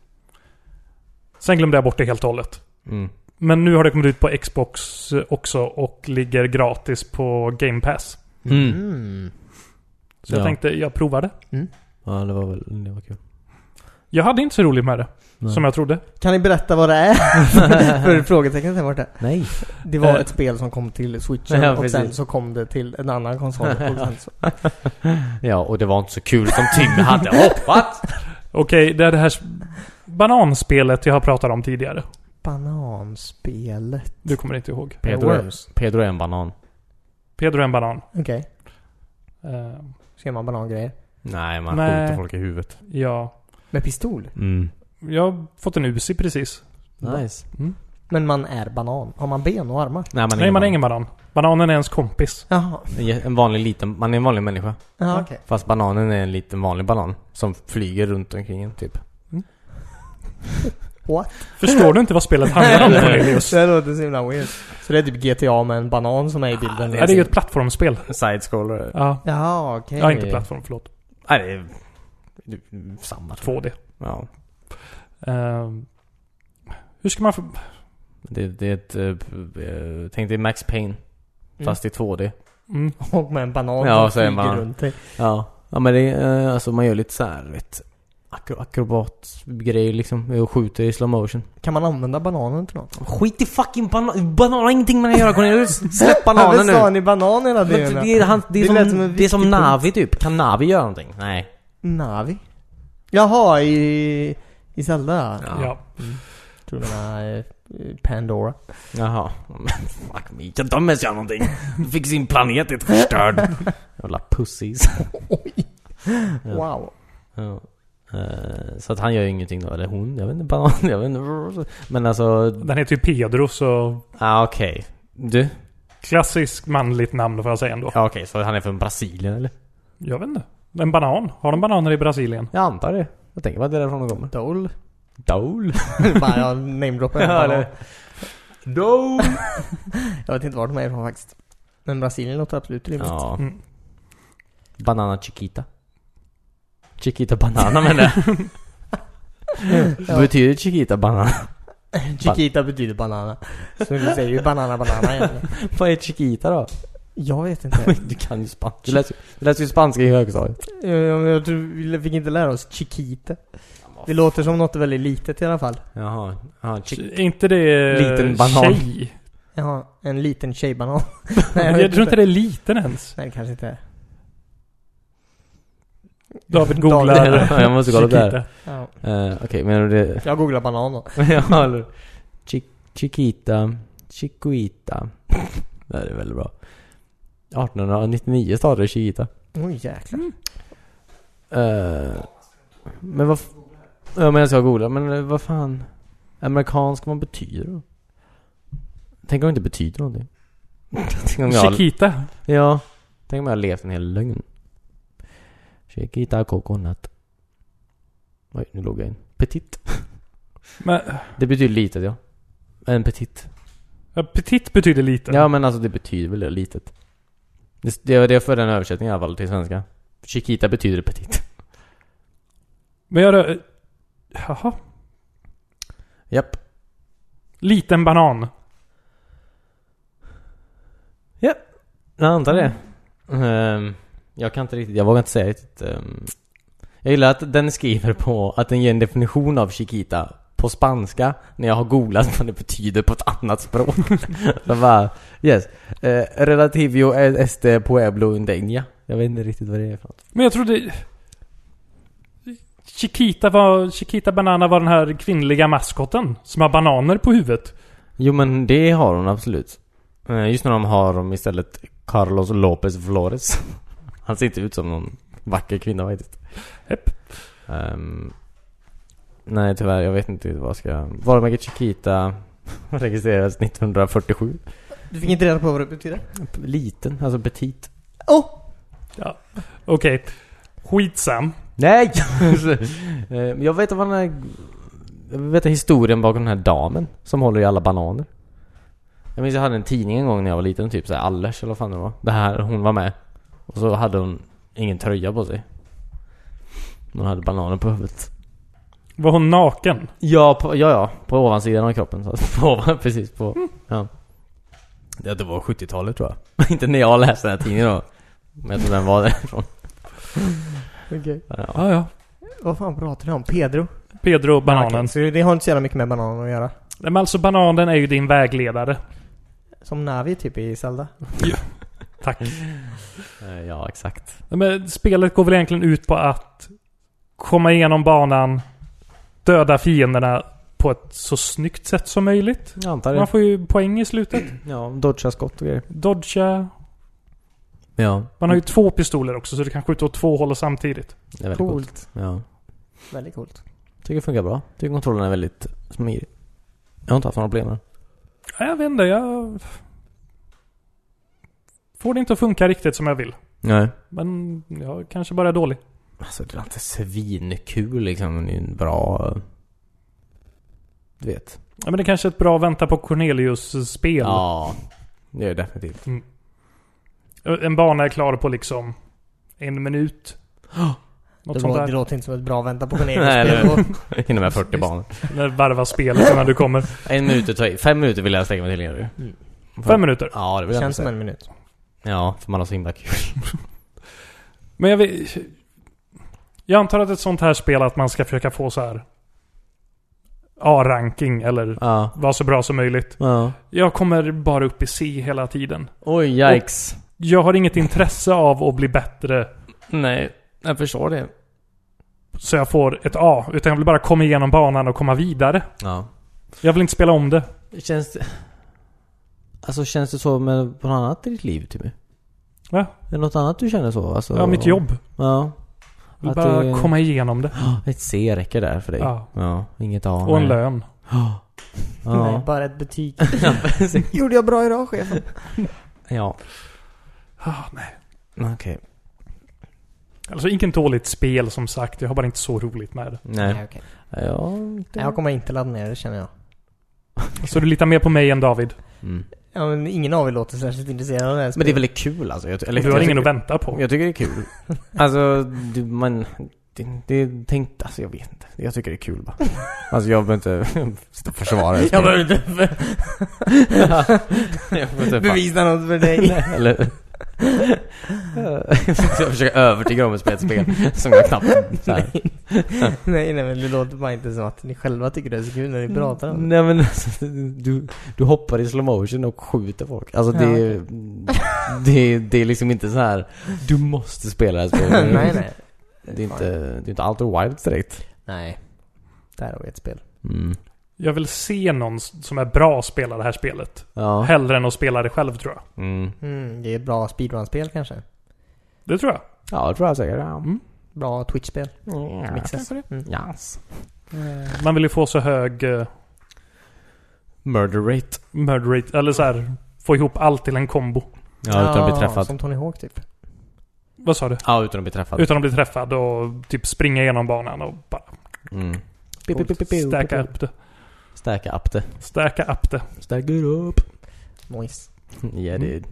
Speaker 2: Sen glömde jag bort det helt och hållet.
Speaker 3: Mm.
Speaker 2: Men nu har det kommit ut på Xbox eh, också och ligger gratis på Game Pass.
Speaker 3: Mm.
Speaker 1: Mm.
Speaker 2: Så jag
Speaker 3: Ja.
Speaker 2: tänkte, jag provar det.
Speaker 3: Ja det var väl, det var kul
Speaker 2: Jag hade inte så roligt med det,
Speaker 3: Nej.
Speaker 2: som jag trodde.
Speaker 1: Kan ni berätta vad det är? För frågetecknet här borta.
Speaker 3: Nej
Speaker 1: Det var
Speaker 2: Eh.
Speaker 1: ett spel som kom till switchen
Speaker 3: Ja,
Speaker 1: och sen
Speaker 3: precis.
Speaker 1: så kom det till en annan konsol. Och sen så...
Speaker 3: Ja och det var inte så kul som Tim hade hoppats
Speaker 2: Okej, det är det här s- bananspelet jag har pratat om tidigare.
Speaker 1: Bananspelet.
Speaker 2: Du kommer inte ihåg.
Speaker 3: Pedro, är- Pedro är en banan
Speaker 2: Pedro är en banan.
Speaker 1: Okej.
Speaker 2: Eh,
Speaker 1: Så gör man banangrejer.
Speaker 3: Nej man
Speaker 2: Nej.
Speaker 3: skjuter folk i huvudet
Speaker 2: ja,
Speaker 1: Med pistol?
Speaker 3: mm.
Speaker 2: jag har fått en Uzi precis.
Speaker 3: Nice.
Speaker 1: Men man är banan. Har man ben och armar?
Speaker 3: Nej, man
Speaker 2: Nej, man är ingen banan. Bananen är ens kompis.
Speaker 1: Jaha.
Speaker 3: banan. En vanlig liten, man är en vanlig människa.
Speaker 1: Ja, okej.
Speaker 3: Fast bananen är en liten vanlig banan. Som flyger runt omkring en typ.
Speaker 1: What?
Speaker 2: Förstår du inte vad spelet handlar om, Cornelius?
Speaker 1: Det låter så himla weird. Så det är typ GTA med en banan som är i bilden?
Speaker 2: Ja, det är ju ett plattformsspel.
Speaker 3: Sidescroller.
Speaker 2: Ja,
Speaker 1: Jaha, okej.
Speaker 2: ja inte plattform, förlåt.
Speaker 3: Nej det är... det är Samma.
Speaker 2: 2D.
Speaker 3: Ja.
Speaker 2: Eh, hur ska man... För...
Speaker 3: Det, det är ett... eh, p- eh, Tänk dig Max Payne. Fast i 2D.
Speaker 2: Mm.
Speaker 1: Och med en banan
Speaker 3: Ja,
Speaker 1: som
Speaker 3: så är
Speaker 1: flyger
Speaker 3: man-
Speaker 1: runt dig.
Speaker 3: Ja. Ja men det är... eh, Alltså man gör lite så här, vet akro- akrobatgrej liksom. Och skjuter i slow motion.
Speaker 1: Kan man använda bananen till något?
Speaker 3: Skit i fucking banan. Banan har ingenting med det att göra Cornelius. Släpp
Speaker 1: Varför
Speaker 3: bananen nu.
Speaker 1: sa han i banan hela
Speaker 3: Men
Speaker 1: tiden?
Speaker 3: Alltså, Det är, han, det är
Speaker 1: Det
Speaker 3: som,
Speaker 1: lät som en
Speaker 3: det är som
Speaker 1: viktig punkt.
Speaker 3: Navi typ. Kan Navi göra någonting? Nej.
Speaker 1: Navi? Jaha, i... I Zelda?
Speaker 3: Ja.
Speaker 2: Ja.
Speaker 1: Tror du menar eh, Pandora?
Speaker 3: Jaha. Men fuck me. Kan de ens göra någonting? De fick sin planet helt förstörd. Jävla pussies. Ja.
Speaker 1: Wow.
Speaker 3: Ja. Eh, Så att han gör ju ingenting då, eller hon, jag vet inte, banan, jag vet inte. Men alltså,
Speaker 2: Den heter ju Pedro så...
Speaker 3: ah, okej. Du?
Speaker 2: Klassiskt manligt namn får jag säga ändå.
Speaker 3: Ja, okej, så han är från Brasilien eller?
Speaker 2: Jag vet inte. En banan. Har de bananer i Brasilien?
Speaker 3: Jag antar det. Jag tänker bara att det är därifrån han kommer.
Speaker 1: Dole?
Speaker 3: Dole?
Speaker 1: Fan, jag namedroppar en
Speaker 3: Ja,
Speaker 1: banan.
Speaker 3: eller? Dole!
Speaker 1: Jag vet inte var de är ifrån faktiskt. Men Brasilien låter absolut rimligt.
Speaker 3: Ja.
Speaker 2: Mm.
Speaker 3: Banana Chiquita. Chiquita Banana menar jag. Vad Betyder Chiquita Banana?
Speaker 1: Chiquita betyder banana. Så du säger ju banana, banana egentligen.
Speaker 3: Vad är Chiquita då?
Speaker 1: Jag vet inte.
Speaker 3: Du kan ju spanska. Du läste, du läste ju spanska i högstadiet.
Speaker 1: Jag, jag, jag tror vi fick inte lära oss Chiquita. Det låter som något väldigt litet i alla fall.
Speaker 3: Jaha. Jaha, Chiquita.
Speaker 2: Är inte det...
Speaker 3: Liten banan.
Speaker 2: Tjej?
Speaker 1: Jaha, en liten tjejbanan.
Speaker 2: Jag,
Speaker 1: vet
Speaker 2: tror inte det är liten ens.
Speaker 1: Nej, det kanske inte är.
Speaker 2: David googlar...
Speaker 3: Jag måste kolla upp det här.
Speaker 2: Chiquita.
Speaker 1: Ja.
Speaker 3: Eh, Okej, menar du det?
Speaker 1: Jag googlar banan då.
Speaker 3: ja, eller... Chi- Chiquita. Chiquita. det här är väldigt bra. 1899 startade Chiquita.
Speaker 1: Oj jäklar.
Speaker 3: Eh, men vad... f- Ja, men jag ska googla. Men eh, vad fan? Amerikansk, vad betyder det? Tänk om det inte betyder någonting. tänk om jag...
Speaker 2: Chiquita.
Speaker 3: Ja. Tänk om jag har levt en hel lögn. Chiquita coconut. Oj, nu låg jag in. Petit.
Speaker 2: Men,
Speaker 3: Det betyder litet, ja. En petit.
Speaker 2: ja, petit betyder liten.
Speaker 3: Ja men alltså det betyder väl det, litet. Det, det var det för den översättningen i alla fall till svenska. Chiquita betyder petit.
Speaker 2: Men jag... rör- Jaha.
Speaker 3: Japp.
Speaker 2: Liten banan.
Speaker 3: Jag antar det. Ehm, jag kan inte riktigt, jag vågar inte säga riktigt. ehm. jag gillar att den skriver på att den ger en definition av Chiquita på spanska när jag har googlat vad det betyder på ett annat språk. Så bara, yes. Eh, relativio este pueblo indegna. Jag vet inte riktigt vad det är för något.
Speaker 2: Men jag trodde... Chiquita var... Chiquita Banana var den här kvinnliga maskoten. Som har bananer på huvudet.
Speaker 3: Jo men det har hon absolut. Eh, Just när de har dem istället Carlos Lopez Flores. Han ser inte ut som någon vacker kvinna faktiskt.
Speaker 2: Hepp.
Speaker 3: Ehm, nej tyvärr, jag vet inte vad jag ska... Varumärket Chiquita registrerades 1947.
Speaker 1: Du fick inte reda på vad det betyder?
Speaker 3: Liten, alltså petit.
Speaker 1: Oh!
Speaker 2: Okej. Skitsam.
Speaker 3: Nej! Eh, men jag vet vad den här... Jag vet historien bakom den här damen som håller i alla bananer. Jag minns jag hade en tidning en gång när jag var liten, typ såhär Allers eller vad fan det var. Det här, hon var med. Och så hade hon ingen tröja på sig. Hon hade bananer på huvudet.
Speaker 2: Var hon naken?
Speaker 3: Ja, på, ja, ja. På ovansidan av kroppen. Så att på, ovan- precis på... Ja. Ja, det var 70-talet tror jag. Inte när jag läste den här tidningen då. Men jag tror den var därifrån.
Speaker 1: Okej.
Speaker 3: Ja.
Speaker 2: Ja, ja.
Speaker 1: Vad fan pratar du om? Pedro?
Speaker 2: Pedro
Speaker 1: Okej,
Speaker 2: Bananen.
Speaker 1: Så det har inte så jävla mycket med bananen att göra?
Speaker 2: Nej, Men alltså bananen är ju din vägledare.
Speaker 1: Som Navi typ i Zelda?
Speaker 2: Tack.
Speaker 3: Eh, Ja, exakt.
Speaker 2: Nej, Men spelet går väl egentligen ut på att komma igenom banan, döda fienderna på ett så snyggt sätt som möjligt.
Speaker 3: Jag antar
Speaker 2: Man
Speaker 3: det.
Speaker 2: får ju poäng i slutet.
Speaker 3: Ja, dodga skott och grejer.
Speaker 2: Dodga.
Speaker 3: Ja.
Speaker 2: Man har ju två pistoler också så du kan skjuta åt två håll samtidigt.
Speaker 3: Det är väldigt coolt.
Speaker 1: Coolt.
Speaker 3: Ja.
Speaker 1: Väldigt coolt.
Speaker 3: Tycker det funkar bra. Tycker kontrollen är väldigt smidig. Jag har inte haft några problem med
Speaker 2: Ja, Jag vet inte, jag... Får det inte att funka riktigt som jag vill.
Speaker 3: Nej.
Speaker 2: Men jag kanske bara är dålig.
Speaker 3: Alltså det var inte svinkul liksom. Men det är ju en bra... eh, Du vet.
Speaker 2: Ja, men det kanske är ett bra vänta på Cornelius-spel.
Speaker 3: Ja. Det är det definitivt.
Speaker 2: Eh, En bana är klar på liksom en minut.
Speaker 1: Det,
Speaker 2: Något sånt
Speaker 1: lå- det
Speaker 2: där.
Speaker 1: låter inte som ett bra vänta på
Speaker 3: Nej,
Speaker 1: Cornelius
Speaker 3: eller
Speaker 1: spel.
Speaker 3: Hinner med 40 banor.
Speaker 2: När varva spelet innan du kommer.
Speaker 3: En minut och tre. Fem minuter vill jag stänga mig till er.
Speaker 1: Mm.
Speaker 2: Fem minuter.
Speaker 3: Ja, det vill
Speaker 1: Det
Speaker 3: jag
Speaker 1: känns som
Speaker 3: inte säga.
Speaker 1: en minut.
Speaker 3: Ja, för man har så himla kul.
Speaker 2: Men jag vet... Jag antar att ett sånt här spel att man ska försöka få så här A-ranking eller
Speaker 3: Ja.
Speaker 2: vara så bra som möjligt.
Speaker 3: ja.
Speaker 2: Jag kommer bara upp i C hela tiden.
Speaker 3: Oj, yikes.
Speaker 2: Jag har inget intresse av att bli bättre
Speaker 3: Nej, jag förstår det.
Speaker 2: så jag får ett A. Utan jag vill bara komma igenom banan och komma vidare.
Speaker 3: Ja.
Speaker 2: Jag vill inte spela om det.
Speaker 3: Känns det... Alltså känns det så med på något annat i ditt liv Timmy?
Speaker 2: Va?
Speaker 3: Är det något annat du känner så? Alltså,
Speaker 2: Ja, mitt jobb.
Speaker 3: Ja.
Speaker 2: Jag vill
Speaker 3: Att
Speaker 2: bara
Speaker 3: det-
Speaker 2: komma igenom det.
Speaker 3: Ett C räcker där för dig.
Speaker 2: Ja.
Speaker 3: ja inget A.
Speaker 2: Och en
Speaker 3: nej.
Speaker 2: lön.
Speaker 3: Ja.
Speaker 1: Nej,
Speaker 3: Ja.
Speaker 1: bara ett betyg. Gjorde jag bra idag chefen?
Speaker 3: ja.
Speaker 2: Ah, nej.
Speaker 3: Okej.
Speaker 2: Alltså inget dåligt spel som sagt. Jag har bara inte så roligt med det.
Speaker 3: Nej.
Speaker 1: okej.
Speaker 3: Ja.
Speaker 1: Nej, jag kommer inte ladda ner det känner jag.
Speaker 2: Så du litar mer på mig än David.
Speaker 3: Mm.
Speaker 1: Ja, men ingen av er låter särskilt intresserad av det här
Speaker 3: Men det är
Speaker 1: spelet.
Speaker 3: väldigt kul alltså. Jag, eller,
Speaker 2: Du har
Speaker 3: jag
Speaker 2: ingen att
Speaker 3: tycker-
Speaker 2: vänta på.
Speaker 3: Jag tycker det är kul. alltså, du, man... Det, det tänkte, alltså jag vet inte. Jag tycker det är kul bara. Alltså jag behöver inte stå och försvara det.
Speaker 1: Jag behöver inte för-
Speaker 3: Jag behöver inte-
Speaker 1: bevisa något för dig.
Speaker 3: Eller... jag försöker övertyga dem om att spela ett spel som jag knappt... Så här.
Speaker 1: nej, nej, men det låter bara inte som att ni själva tycker det är så kul när ni
Speaker 2: Mm.
Speaker 1: pratar om det.
Speaker 3: Nej men alltså, du, du hoppar i slow motion och skjuter folk. Alltså
Speaker 1: Ja,
Speaker 3: det, det, det är liksom inte så här. du måste spela det här spelet.
Speaker 1: nej, nej.
Speaker 3: Det är inte, det är inte Outer Wilds direkt.
Speaker 1: Nej. Där har vi ett spel.
Speaker 3: Mm.
Speaker 2: Jag vill se någon som är bra spela det här spelet.
Speaker 3: Ja.
Speaker 2: Hellre än att spela det själv tror jag.
Speaker 3: Mm.
Speaker 1: Mm, det är ett bra speedrun-spel kanske.
Speaker 2: Det tror jag.
Speaker 3: Ja, det tror jag säkert. Ja.
Speaker 1: Bra Twitch-spel.
Speaker 3: Mm.
Speaker 1: Mixas. Mm.
Speaker 3: Yes.
Speaker 2: Man vill ju få så hög eh,
Speaker 3: Murder rate.
Speaker 2: murder rate. Eller så här. Få ihop allt till en kombo.
Speaker 3: Ja, utan att bli träffad.
Speaker 1: Som Tony Hawk typ.
Speaker 2: Vad sa du?
Speaker 3: Ja, utan att bli träffad.
Speaker 2: Utan att bli träffad och typ springa igenom banan och bara
Speaker 3: Mm.
Speaker 2: stärka upp det.
Speaker 3: Stärka upp det.
Speaker 2: Stärka upp det.
Speaker 3: Stärka upp.
Speaker 1: Nice.
Speaker 3: Ja, det...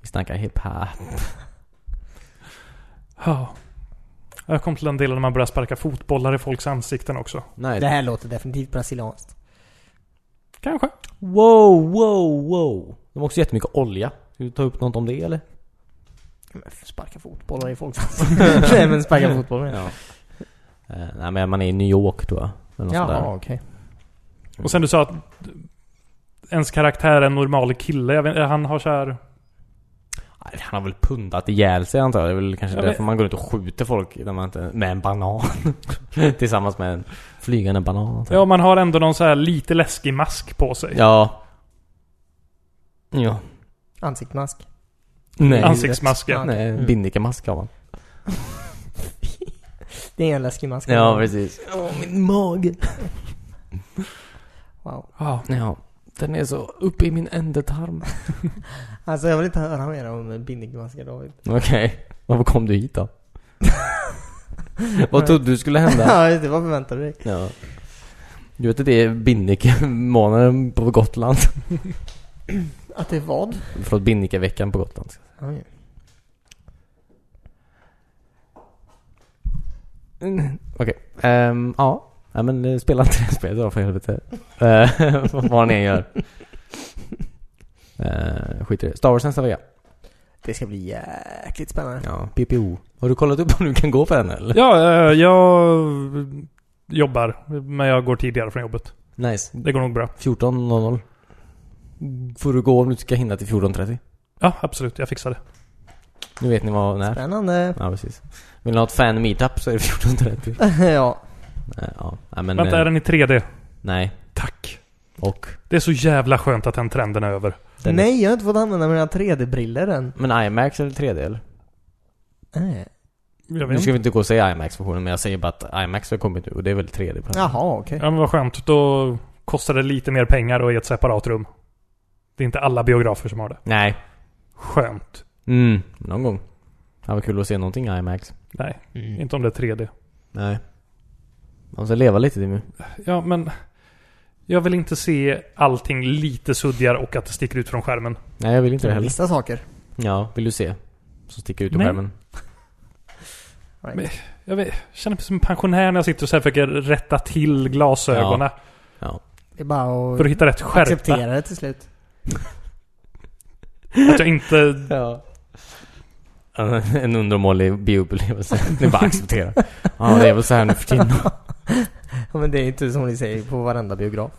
Speaker 3: Vi snackar hip-hop.
Speaker 2: Ja. Jag kom till den delen när man börjar sparka fotbollar i folks ansikten också.
Speaker 3: Nej.
Speaker 1: Det här låter definitivt brasilianskt.
Speaker 2: Kanske.
Speaker 3: Wow, wow, wow. De har också jättemycket olja. Ska du ta upp något om det eller?
Speaker 1: Men Sparka fotbollar i folks ansikten. Nej men sparka fotboll menar jag.
Speaker 3: Eh, nej men man är i New York tror jag. Eller något sånt
Speaker 1: Jaha,
Speaker 3: där.
Speaker 1: okej.
Speaker 2: Och sen du sa att ens karaktär är en normal kille. Jag vet, han har så här...
Speaker 3: Nej, Han har väl pundat ihjäl sig antar jag. Det är väl kanske
Speaker 2: Ja, men-
Speaker 3: därför man går ut och skjuter folk när man inte, med en banan. Tillsammans med en flygande banan. antar jag.
Speaker 2: Ja, man har ändå någon så här lite läskig mask på sig.
Speaker 3: Ja. Ja.
Speaker 1: Ansiktsmask.
Speaker 3: Nej.
Speaker 2: Ansiktsmask, ja.
Speaker 3: Nej,
Speaker 1: Mm.
Speaker 3: binnikemask har man.
Speaker 1: Det är en läskig mask.
Speaker 3: Ja, precis. Åh, min mage.
Speaker 1: Wow.
Speaker 2: Ja.
Speaker 3: Ja. Den är så uppe i min ändtarm.
Speaker 1: Alltså jag vill inte höra mer om bindingmaskar David.
Speaker 3: Okej. Varför kom du hit då? Vad trodde du skulle hända?
Speaker 1: Ja, det var förväntade dig.
Speaker 3: ja. Du vet att det är binnikemånaden på Gotland.
Speaker 1: Att det är vad?
Speaker 3: Förlåt, binnikeveckan på Gotland.
Speaker 1: Oj.
Speaker 3: Mm, Okej. Ehm, ja. Nej men eh, spela inte det spelet då för helvete. Eh, Vad ni än gör. Uh, skit i det. Star Wars nästa vecka.
Speaker 1: Det ska bli jäkligt spännande.
Speaker 3: Ja. PPO. Har du kollat upp om du kan gå på den eller?
Speaker 2: Ja, eh, jag jobbar. Men jag går tidigare från jobbet.
Speaker 3: Nice.
Speaker 2: Det går nog bra.
Speaker 3: 14.00. Får du gå om du ska hinna till 14.30.
Speaker 2: Ja, absolut. Jag fixar det.
Speaker 3: Nu vet ni vad när.
Speaker 1: Spännande.
Speaker 3: Ja, precis. Vill ni ha ett fan meetup så är det 14.30.
Speaker 1: ja.
Speaker 3: Nej, ja. Nej, men,
Speaker 2: Vänta,
Speaker 3: eh,
Speaker 2: är den i 3D?
Speaker 3: Nej.
Speaker 2: Tack.
Speaker 3: Och?
Speaker 2: Det är så jävla skönt att den trenden är över.
Speaker 3: Den är-
Speaker 1: Nej, jag har inte fått använda mina 3D-briller än.
Speaker 3: Men IMAX eller 3D eller?
Speaker 1: Äh.
Speaker 2: Jag vet
Speaker 3: Nu ska
Speaker 2: inte.
Speaker 3: vi inte gå och säga IMAX-versionen men jag säger bara att IMAX har kommit nu och det är väl 3D på den.
Speaker 1: Jaha, okej.
Speaker 2: Ja, men vad skönt. Då kostar det lite mer pengar och är i ett separat rum. Det är inte alla biografer som har det.
Speaker 3: Nej.
Speaker 2: Skönt.
Speaker 3: Mm. Någon gång. Det var kul att se någonting i IMAX.
Speaker 2: Nej, inte om det är 3D.
Speaker 3: Nej. Man måste leva lite Timmy.
Speaker 2: Ja, men... Jag vill inte se allting lite suddigare och att det sticker ut från skärmen.
Speaker 3: Nej, jag vill inte det heller.
Speaker 1: Vissa saker.
Speaker 3: Ja, vill du se? Som sticker ut ur
Speaker 2: Nej.
Speaker 3: skärmen.
Speaker 2: Jag vet, jag känner mig som en pensionär när jag sitter och så här försöker rätta till glasögonen.
Speaker 1: Det är bara
Speaker 2: För
Speaker 1: att
Speaker 2: att hitta rätt skärpa.
Speaker 1: acceptera det till slut.
Speaker 2: Att jag inte...
Speaker 3: Ja. En undermålig bioupplevelse. Ni bara accepterar. Ja, det är väl så här nu för tiden.
Speaker 1: Ja, men det är inte som ni säger på varenda biograf.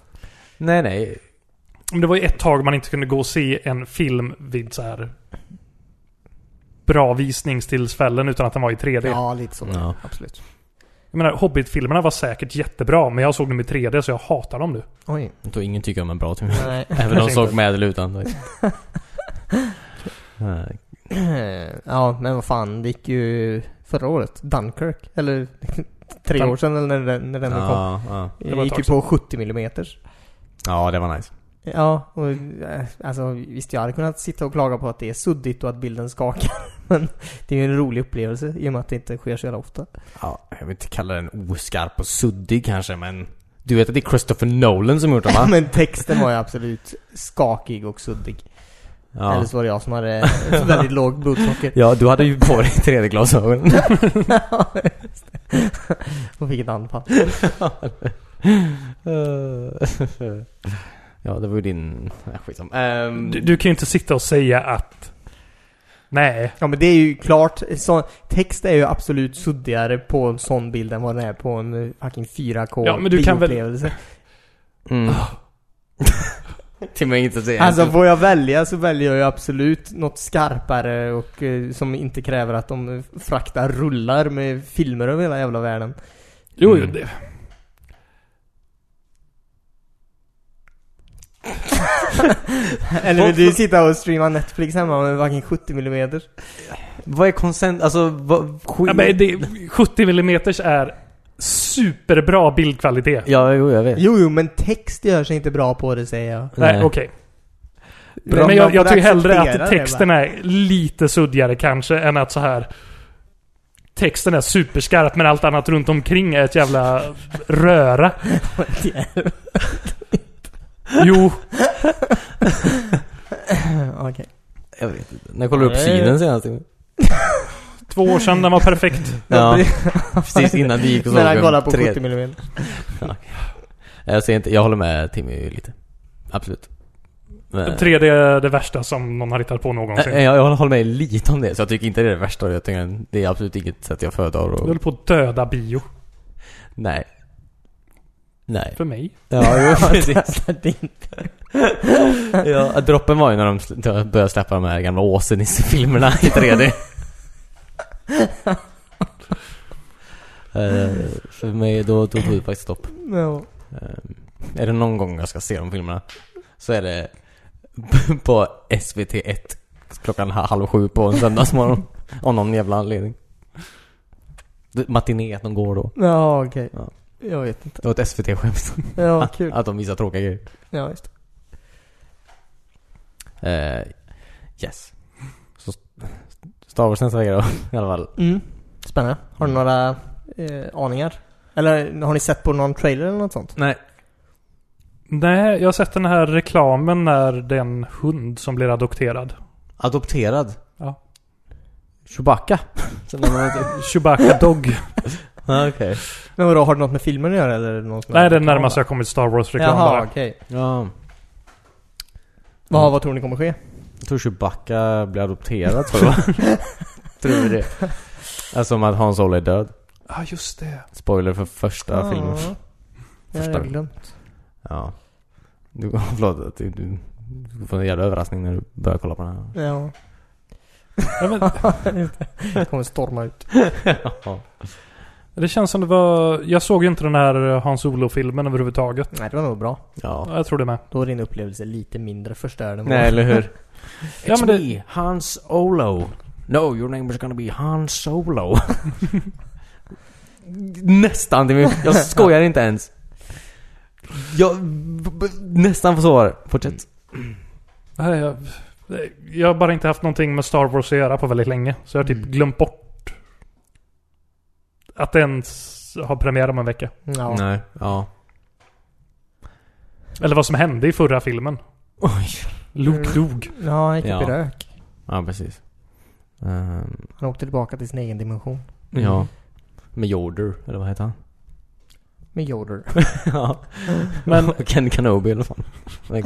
Speaker 3: Nej, nej.
Speaker 2: Men det var ju ett tag man inte kunde gå och se en film vid så här bra visningstillfällen utan att den var i 3D.
Speaker 1: Ja, lite så.
Speaker 3: Ja.
Speaker 1: Absolut.
Speaker 2: Jag menar, Hobbit-filmerna var säkert jättebra, men jag såg dem i 3D så jag hatar dem nu.
Speaker 1: Oj.
Speaker 3: Jag tror ingen tycker om en bra film.
Speaker 1: Nej.
Speaker 3: Även de
Speaker 2: Kanske
Speaker 3: såg
Speaker 2: inte.
Speaker 3: med eller utan. Nej.
Speaker 1: ja, men vad fan. Det gick ju förra året. Dunkirk. Eller tre
Speaker 2: Dun-
Speaker 1: år sedan eller när den, när den kom.
Speaker 3: Ja, ja.
Speaker 1: Det
Speaker 2: det var ett
Speaker 1: gick ju
Speaker 2: tag
Speaker 1: på 70 millimeters.
Speaker 3: ja, det var nice.
Speaker 1: Ja, och eh, alltså visst jag hade kunnat sitta och klaga på att det är suddigt och att bilden skakar. Men det är ju en rolig upplevelse i och med att det inte sker så jävla ofta.
Speaker 3: Ja, jag vill inte kalla den oskarp och suddig kanske, men... Du vet att det är Christopher Nolan som gjort den va?
Speaker 1: Men texten var ju absolut skakig och suddig. Eller
Speaker 3: Ja.
Speaker 1: så var det jag som hade ett väldigt lågt blodsocker.
Speaker 3: ja, du hade ju på dig 3D-glasögon.
Speaker 1: Just det. och fick ett anfall.
Speaker 3: ja, det var ju din... Nej, skitsamma. Ehm,
Speaker 2: Du, du kan ju inte sitta och säga att... Nej.
Speaker 1: Ja men det är ju klart, så, text är ju absolut suddigare på en sån bild än vad den är på en eh, fucking 4K
Speaker 2: Ja, men du kan väl-
Speaker 1: bioupplevelse.
Speaker 3: Mm. Till mig inte att säga.
Speaker 1: Alltså får jag välja så väljer jag ju absolut något skarpare och eh, som inte kräver att de eh, fraktar rullar med filmer över hela jävla världen.
Speaker 2: Jo,
Speaker 3: Mm.
Speaker 2: mm. det...
Speaker 1: Eller vill du sitta och streama Netflix hemma med fucking 70 mm?
Speaker 3: vad är konsent? Alltså, vad... Skit...
Speaker 2: Ja, men det 70 mm är superbra bildkvalitet.
Speaker 3: Ja, jo, jag vet.
Speaker 1: Jo, jo, men text gör sig inte bra på det säger jag.
Speaker 2: Nej,
Speaker 3: Nej.
Speaker 2: okej.
Speaker 1: Bra, man
Speaker 2: Men jag,
Speaker 1: får
Speaker 2: jag tycker hellre
Speaker 1: acceptera
Speaker 2: att
Speaker 1: det,
Speaker 2: texten är lite suddigare kanske än att så här Texten är superskarp men allt annat runt omkring är ett jävla röra. Jo,
Speaker 1: Okej.
Speaker 3: Jag vet inte. När jag kollade upp
Speaker 1: Nej.
Speaker 3: synen senast.
Speaker 2: två år sedan den var perfekt.
Speaker 3: Ja, precis innan du gick och såg
Speaker 1: När han
Speaker 3: en
Speaker 1: kollar på
Speaker 3: tre-
Speaker 1: 70 mm.
Speaker 3: Jag ser inte, jag håller med Timmy lite. Absolut. Men, Eh,
Speaker 2: 3D är det värsta som någon har hittat på någonsin.
Speaker 3: jag, jag håller med lite om det, så jag tycker inte det är det värsta. Jag tycker det är absolut inget sätt jag föredrar
Speaker 2: Du
Speaker 3: och...
Speaker 2: håller på att döda bio.
Speaker 3: Nej. Nej.
Speaker 2: För mig.
Speaker 3: Ja, jo, precis.
Speaker 1: Din-
Speaker 3: Ja, droppen var ju när de sl- började släppa de här gamla Åsen-filmerna i 3D. Eh, för mig, då tog det faktiskt stopp.
Speaker 1: Ja.
Speaker 3: Ehm, Är det någon gång jag ska se de filmerna så är det på SVT1 klockan ha- halv sju på en söndagsmorgon. av någon jävla anledning. Det- Matiné att de går då.
Speaker 1: Ja, okej.
Speaker 3: Ja. Ah,
Speaker 1: Jag vet inte.
Speaker 3: Det var ett SVT-skämt.
Speaker 1: Ja, kul.
Speaker 3: Att de visar tråkiga grejer.
Speaker 1: Ja, just det.
Speaker 3: Eh, yes. Så st- Star Wars nästa vecka då, i alla fall.
Speaker 1: Mm. Spännande. Har du några eh, aningar? Eller har ni sett på någon trailer eller något sånt?
Speaker 3: Nej.
Speaker 2: Nej, jag har sett den här reklamen när den hund som blir adopterad.
Speaker 3: Adopterad.
Speaker 2: Ja.
Speaker 3: Chewbacca. Som de har- typ.
Speaker 2: Chewbacca Dog.
Speaker 3: Ja, Ah, Okej.
Speaker 1: Men vadå, har det något med filmen att göra eller något som
Speaker 2: Nej, det är närmast jag kommit Star Wars-reklam
Speaker 1: Jaha,
Speaker 2: bara. Mm.
Speaker 1: okej.
Speaker 3: Ja.
Speaker 1: Vad, vad tror ni kommer ske?
Speaker 3: Jag tror Chewbacca blir adopterad tror jag. tror du det? Alltså om att Hans Solo är död.
Speaker 2: Ja, ah, just det.
Speaker 3: Spoiler för första filmen.
Speaker 1: Ja, det hade
Speaker 3: Första.
Speaker 1: jag glömt.
Speaker 3: Ja. Du, förlåt att du, du du får en jävla överraskning när du börjar kolla på den här.
Speaker 1: Ja.
Speaker 2: Ja, men,
Speaker 1: Jag kommer storma ut.
Speaker 3: Ja.
Speaker 2: det känns som det var... Jag såg ju inte den här Hans Olo-filmen överhuvudtaget.
Speaker 1: Nej, det var nog bra.
Speaker 3: ja.
Speaker 2: Ja, Jag tror det med.
Speaker 1: Då är din upplevelse lite mindre förstörd än vad-
Speaker 3: Nej, eller hur?
Speaker 2: Ja, men det-
Speaker 3: me, Hans Olo. No, your name is gonna be Hans Solo. nästan till mig. Jag skojar inte ens. Jag... b- b- Nästan får svar.
Speaker 2: Mm,
Speaker 3: Fortsätt.
Speaker 2: Nej, jag, jag har bara inte haft någonting med Star Wars att göra på väldigt länge. Så jag har typ
Speaker 3: Mm.
Speaker 2: glömt bort att den ens har premiär om en vecka.
Speaker 1: Ja.
Speaker 3: Nej. Ja.
Speaker 2: Eller vad som hände i förra filmen.
Speaker 3: Oj.
Speaker 2: Luke dog.
Speaker 1: Mm. Ja, han gick upp
Speaker 3: Ja.
Speaker 1: i rök.
Speaker 3: Ja, precis. Ehm,
Speaker 1: Han åkte tillbaka till sin egen dimension.
Speaker 3: ja. Med Yoder, eller vad heter han?
Speaker 1: Med Yoder.
Speaker 3: ja.
Speaker 2: Men
Speaker 3: Ken Kenobi eller vad fan.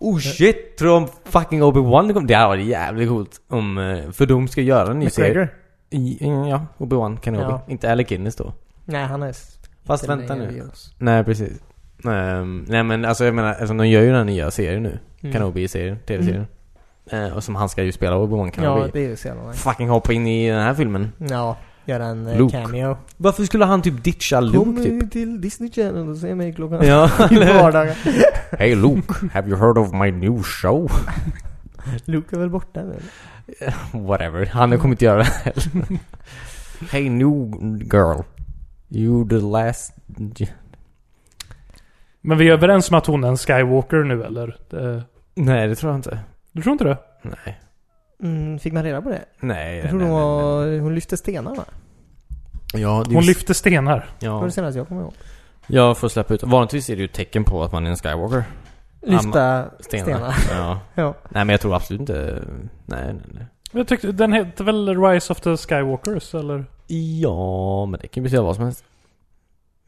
Speaker 3: Oh shit! Tror du om fucking Obi-Wan kom? Det hade varit jävligt coolt om... eh, För de ska göra en ny serie.
Speaker 1: McGregor?
Speaker 3: I- mm, Ja, Obi-Wan Kenobi.
Speaker 1: Ja.
Speaker 3: Inte Alec Guinness då.
Speaker 1: Nej, han är... s-
Speaker 3: Fast
Speaker 1: inte
Speaker 3: vänta
Speaker 1: längre
Speaker 3: nu.
Speaker 1: i oss.
Speaker 3: Nej, precis. Ehm, nej men alltså jag menar, alltså, de gör ju den här nya serien nu.
Speaker 1: Mm.
Speaker 3: Kenobi-serien, TV-serien. Eh, och som han ska ju spela Obi-Wan Kenobi.
Speaker 1: Ja, det är ju så jävla nice.
Speaker 3: Fucking hoppa in i den här filmen.
Speaker 1: Ja, göra en eh,
Speaker 3: Luke.
Speaker 1: cameo.
Speaker 3: Varför skulle han typ ditcha Luke typ?
Speaker 1: till Disney Channel och se mig klockan...
Speaker 3: Ja,
Speaker 1: I vardagen.
Speaker 3: Hey Luke, have you heard of my new show?
Speaker 1: Luke är väl borta nu? eller?
Speaker 3: Whatever, han kommer inte göra det heller. Hey new girl. You the last...
Speaker 2: Men vi är överens om att hon är en Skywalker nu eller? Det,
Speaker 3: Nej, det tror jag inte.
Speaker 2: du tror inte det?
Speaker 3: Nej.
Speaker 1: Mm, fick man reda på det?
Speaker 3: Eh, Nej,
Speaker 1: Jag tror hon var... Hon lyfte stenar va?
Speaker 3: Ja,
Speaker 2: Hon lyfter stenar.
Speaker 1: Det var
Speaker 3: Ja.
Speaker 1: det senaste jag kommer ihåg.
Speaker 3: Jag får släppa ut. Vanligtvis är det ju ett tecken på att man är en Skywalker.
Speaker 1: Lyfta
Speaker 3: Stenar.
Speaker 1: stenar.
Speaker 3: Ja.
Speaker 1: Ja.
Speaker 3: Nej, men jag tror absolut inte... Nej, nej, nej.
Speaker 2: Jag tyckte, den hette väl Rise of the Skywalkers eller?
Speaker 3: Ja, men det kan ju betyda vad som helst.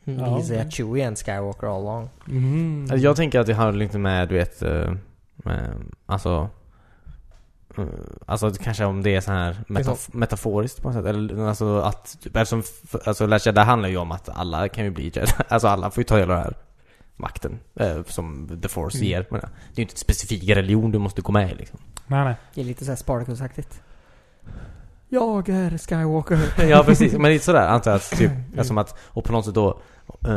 Speaker 2: Ja.
Speaker 1: Easy att Chewie är en Skywalker all along.
Speaker 2: Mm.
Speaker 3: Alltså, jag tänker att det handlar lite med, du vet, eh, med, alltså... eh, Alltså det kanske om det är så här
Speaker 2: Liksom-
Speaker 3: metaf- metaforiskt på något sätt. Eller alltså att, typ, eftersom, f- alltså Last Jedi handlar ju om att alla kan ju bli Jedi. Alltså alla får ju ta del av den här makten. eh, Som the force
Speaker 2: Mm.
Speaker 3: ger. Men eh, det är ju inte en specifik religion du måste gå med i liksom.
Speaker 2: Nej, nej.
Speaker 1: Det är lite såhär Spartacus-aktigt. Jag är Skywalker.
Speaker 2: Typ.
Speaker 3: Ja precis, men lite sådär antar jag att typ, som att, och på något sätt då Uh,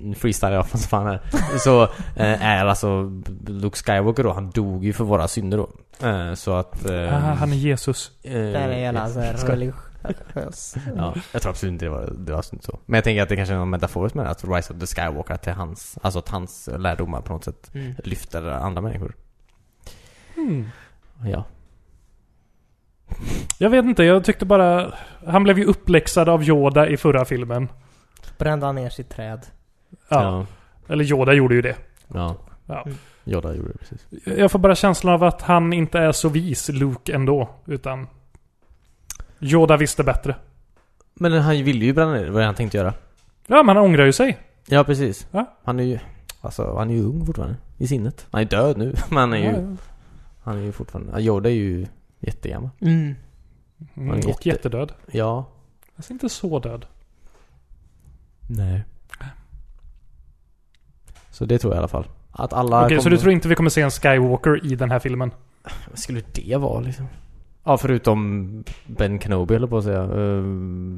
Speaker 3: nu freestylar jag som fan här. Så eh, är alltså Luke Skywalker då, han dog ju för våra synder då. Eh, så att... eh,
Speaker 2: Ah, han är Jesus.
Speaker 3: eh,
Speaker 1: Det här är jävla såhär
Speaker 3: ska-
Speaker 1: religiös.
Speaker 3: Ja, jag tror absolut inte det var, det var inte så. Men jag tänker att det kanske är någon metaforiskt med det, att Rise of the Skywalker, till hans, alltså att hans lärdomar på något sätt
Speaker 1: Mm.
Speaker 3: lyfter andra människor.
Speaker 2: Mm.
Speaker 3: Ja.
Speaker 2: Jag vet inte, jag tyckte bara... Han blev ju uppläxad av Yoda i förra filmen.
Speaker 1: Brände han ner sitt träd.
Speaker 2: Ja. Eller Yoda gjorde ju det.
Speaker 3: Ja.
Speaker 2: Ja.
Speaker 3: Yoda gjorde det precis.
Speaker 2: Jag får bara känslan av att han inte är så vis, Luke, ändå. Utan... Yoda visste bättre.
Speaker 3: Men han ville ju bränna ner det, vad han tänkte göra.
Speaker 2: Ja, men han ångrar ju sig.
Speaker 3: Ja, precis.
Speaker 2: Ja.
Speaker 3: Han är ju... Alltså, han är ju ung fortfarande. I sinnet. Han är död nu, men han är ju... Han är ju fortfarande... ja, Yoda är ju jättegammal.
Speaker 1: Mm.
Speaker 2: Mm,
Speaker 3: Han är
Speaker 2: och
Speaker 3: jätte-
Speaker 2: jättedöd.
Speaker 3: Ja.
Speaker 2: Alltså inte så död.
Speaker 3: Nej. Så det tror jag i alla fall. Att alla
Speaker 2: Okej,
Speaker 3: kommer...
Speaker 2: så du tror inte vi kommer se en Skywalker i den här filmen?
Speaker 3: Vad skulle det vara liksom? Ja, förutom Ben Kenobi eller på att säga. Eh,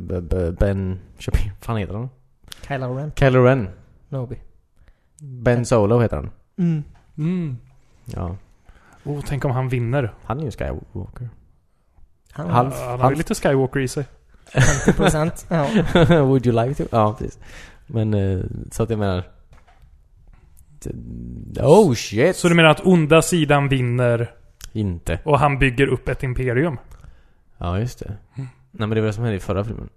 Speaker 3: B- B- ben... Shapiro. fan heter han?
Speaker 1: Kylo Ren.
Speaker 3: Kylo Ren.
Speaker 1: Nobi.
Speaker 3: Ben Solo heter han.
Speaker 1: Mm.
Speaker 2: Mm.
Speaker 3: Ja.
Speaker 2: Oh, tänk om han vinner.
Speaker 3: Han är ju Skywalker.
Speaker 1: Han har
Speaker 3: Han-
Speaker 2: Ja, han har ju
Speaker 3: han-
Speaker 2: lite Skywalker i sig.
Speaker 1: 50%. ja.
Speaker 3: Would you like to? Ja, precis. Men eh, så att jag menar... Oh shit!
Speaker 2: Så du menar att onda sidan vinner
Speaker 3: Inte.
Speaker 2: och han bygger upp ett imperium?
Speaker 3: Ja, just det.
Speaker 2: Mm.
Speaker 3: Nej men det var det som hände i förra filmen.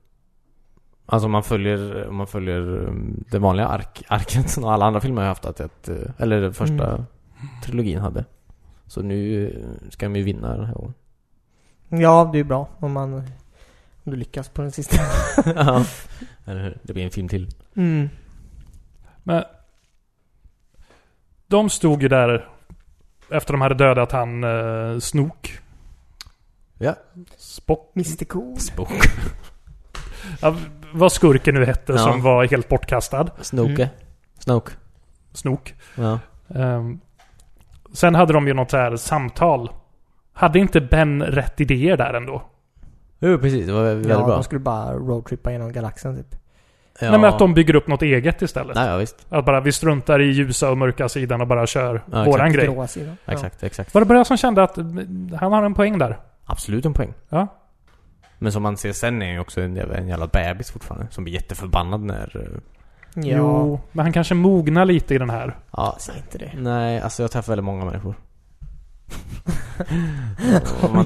Speaker 3: Alltså om man följer, om man följer um, det vanliga ark, arket som alla andra filmer har haft att ett, eh, eller den första
Speaker 2: Mm.
Speaker 3: trilogin hade. Så nu eh, ska de ju vinna den här gången.
Speaker 1: ja, det är bra om man... Om du lyckas på den sista.
Speaker 3: Ja. Eller hur? Det blir en film till.
Speaker 1: Mm.
Speaker 2: Men... De stod ju där efter de hade dödat han eh, Snook.
Speaker 3: Ja.
Speaker 2: Spock.
Speaker 1: Mr Cool.
Speaker 3: Spock.
Speaker 2: Ja, vad skurken nu hette
Speaker 3: Ja.
Speaker 2: som var helt bortkastad.
Speaker 3: Snoke.
Speaker 1: Mm.
Speaker 3: Snoke.
Speaker 2: Snook.
Speaker 3: Ja.
Speaker 2: Ehm, sen hade de ju något så här samtal. Hade inte Ben rätt idéer där ändå?
Speaker 3: Jo, precis. Det var väldigt
Speaker 1: Ja,
Speaker 3: bra.
Speaker 1: de skulle bara roadtrippa genom galaxen typ.
Speaker 3: Ja.
Speaker 2: Nej men att de bygger upp något eget istället.
Speaker 3: Nej, ja, visst.
Speaker 2: Att bara vi struntar i ljusa och mörka sidan och bara kör
Speaker 3: Ja,
Speaker 2: våran
Speaker 3: exakt.
Speaker 2: grej.
Speaker 1: Gråa sidan. Ja.
Speaker 3: Exakt, exakt.
Speaker 2: Var det bara jag som kände att mm, han har en poäng där?
Speaker 3: Absolut en poäng.
Speaker 2: Ja.
Speaker 3: Men som man ser sen är han ju också en jävla, en jävla bebis fortfarande. Som blir jätteförbannad när... eh,
Speaker 1: Ja.
Speaker 2: Jo, men han kanske mognar lite i den här.
Speaker 3: Ja,
Speaker 1: Säg inte det.
Speaker 3: Nej, alltså jag träffar väldigt många människor. Och man,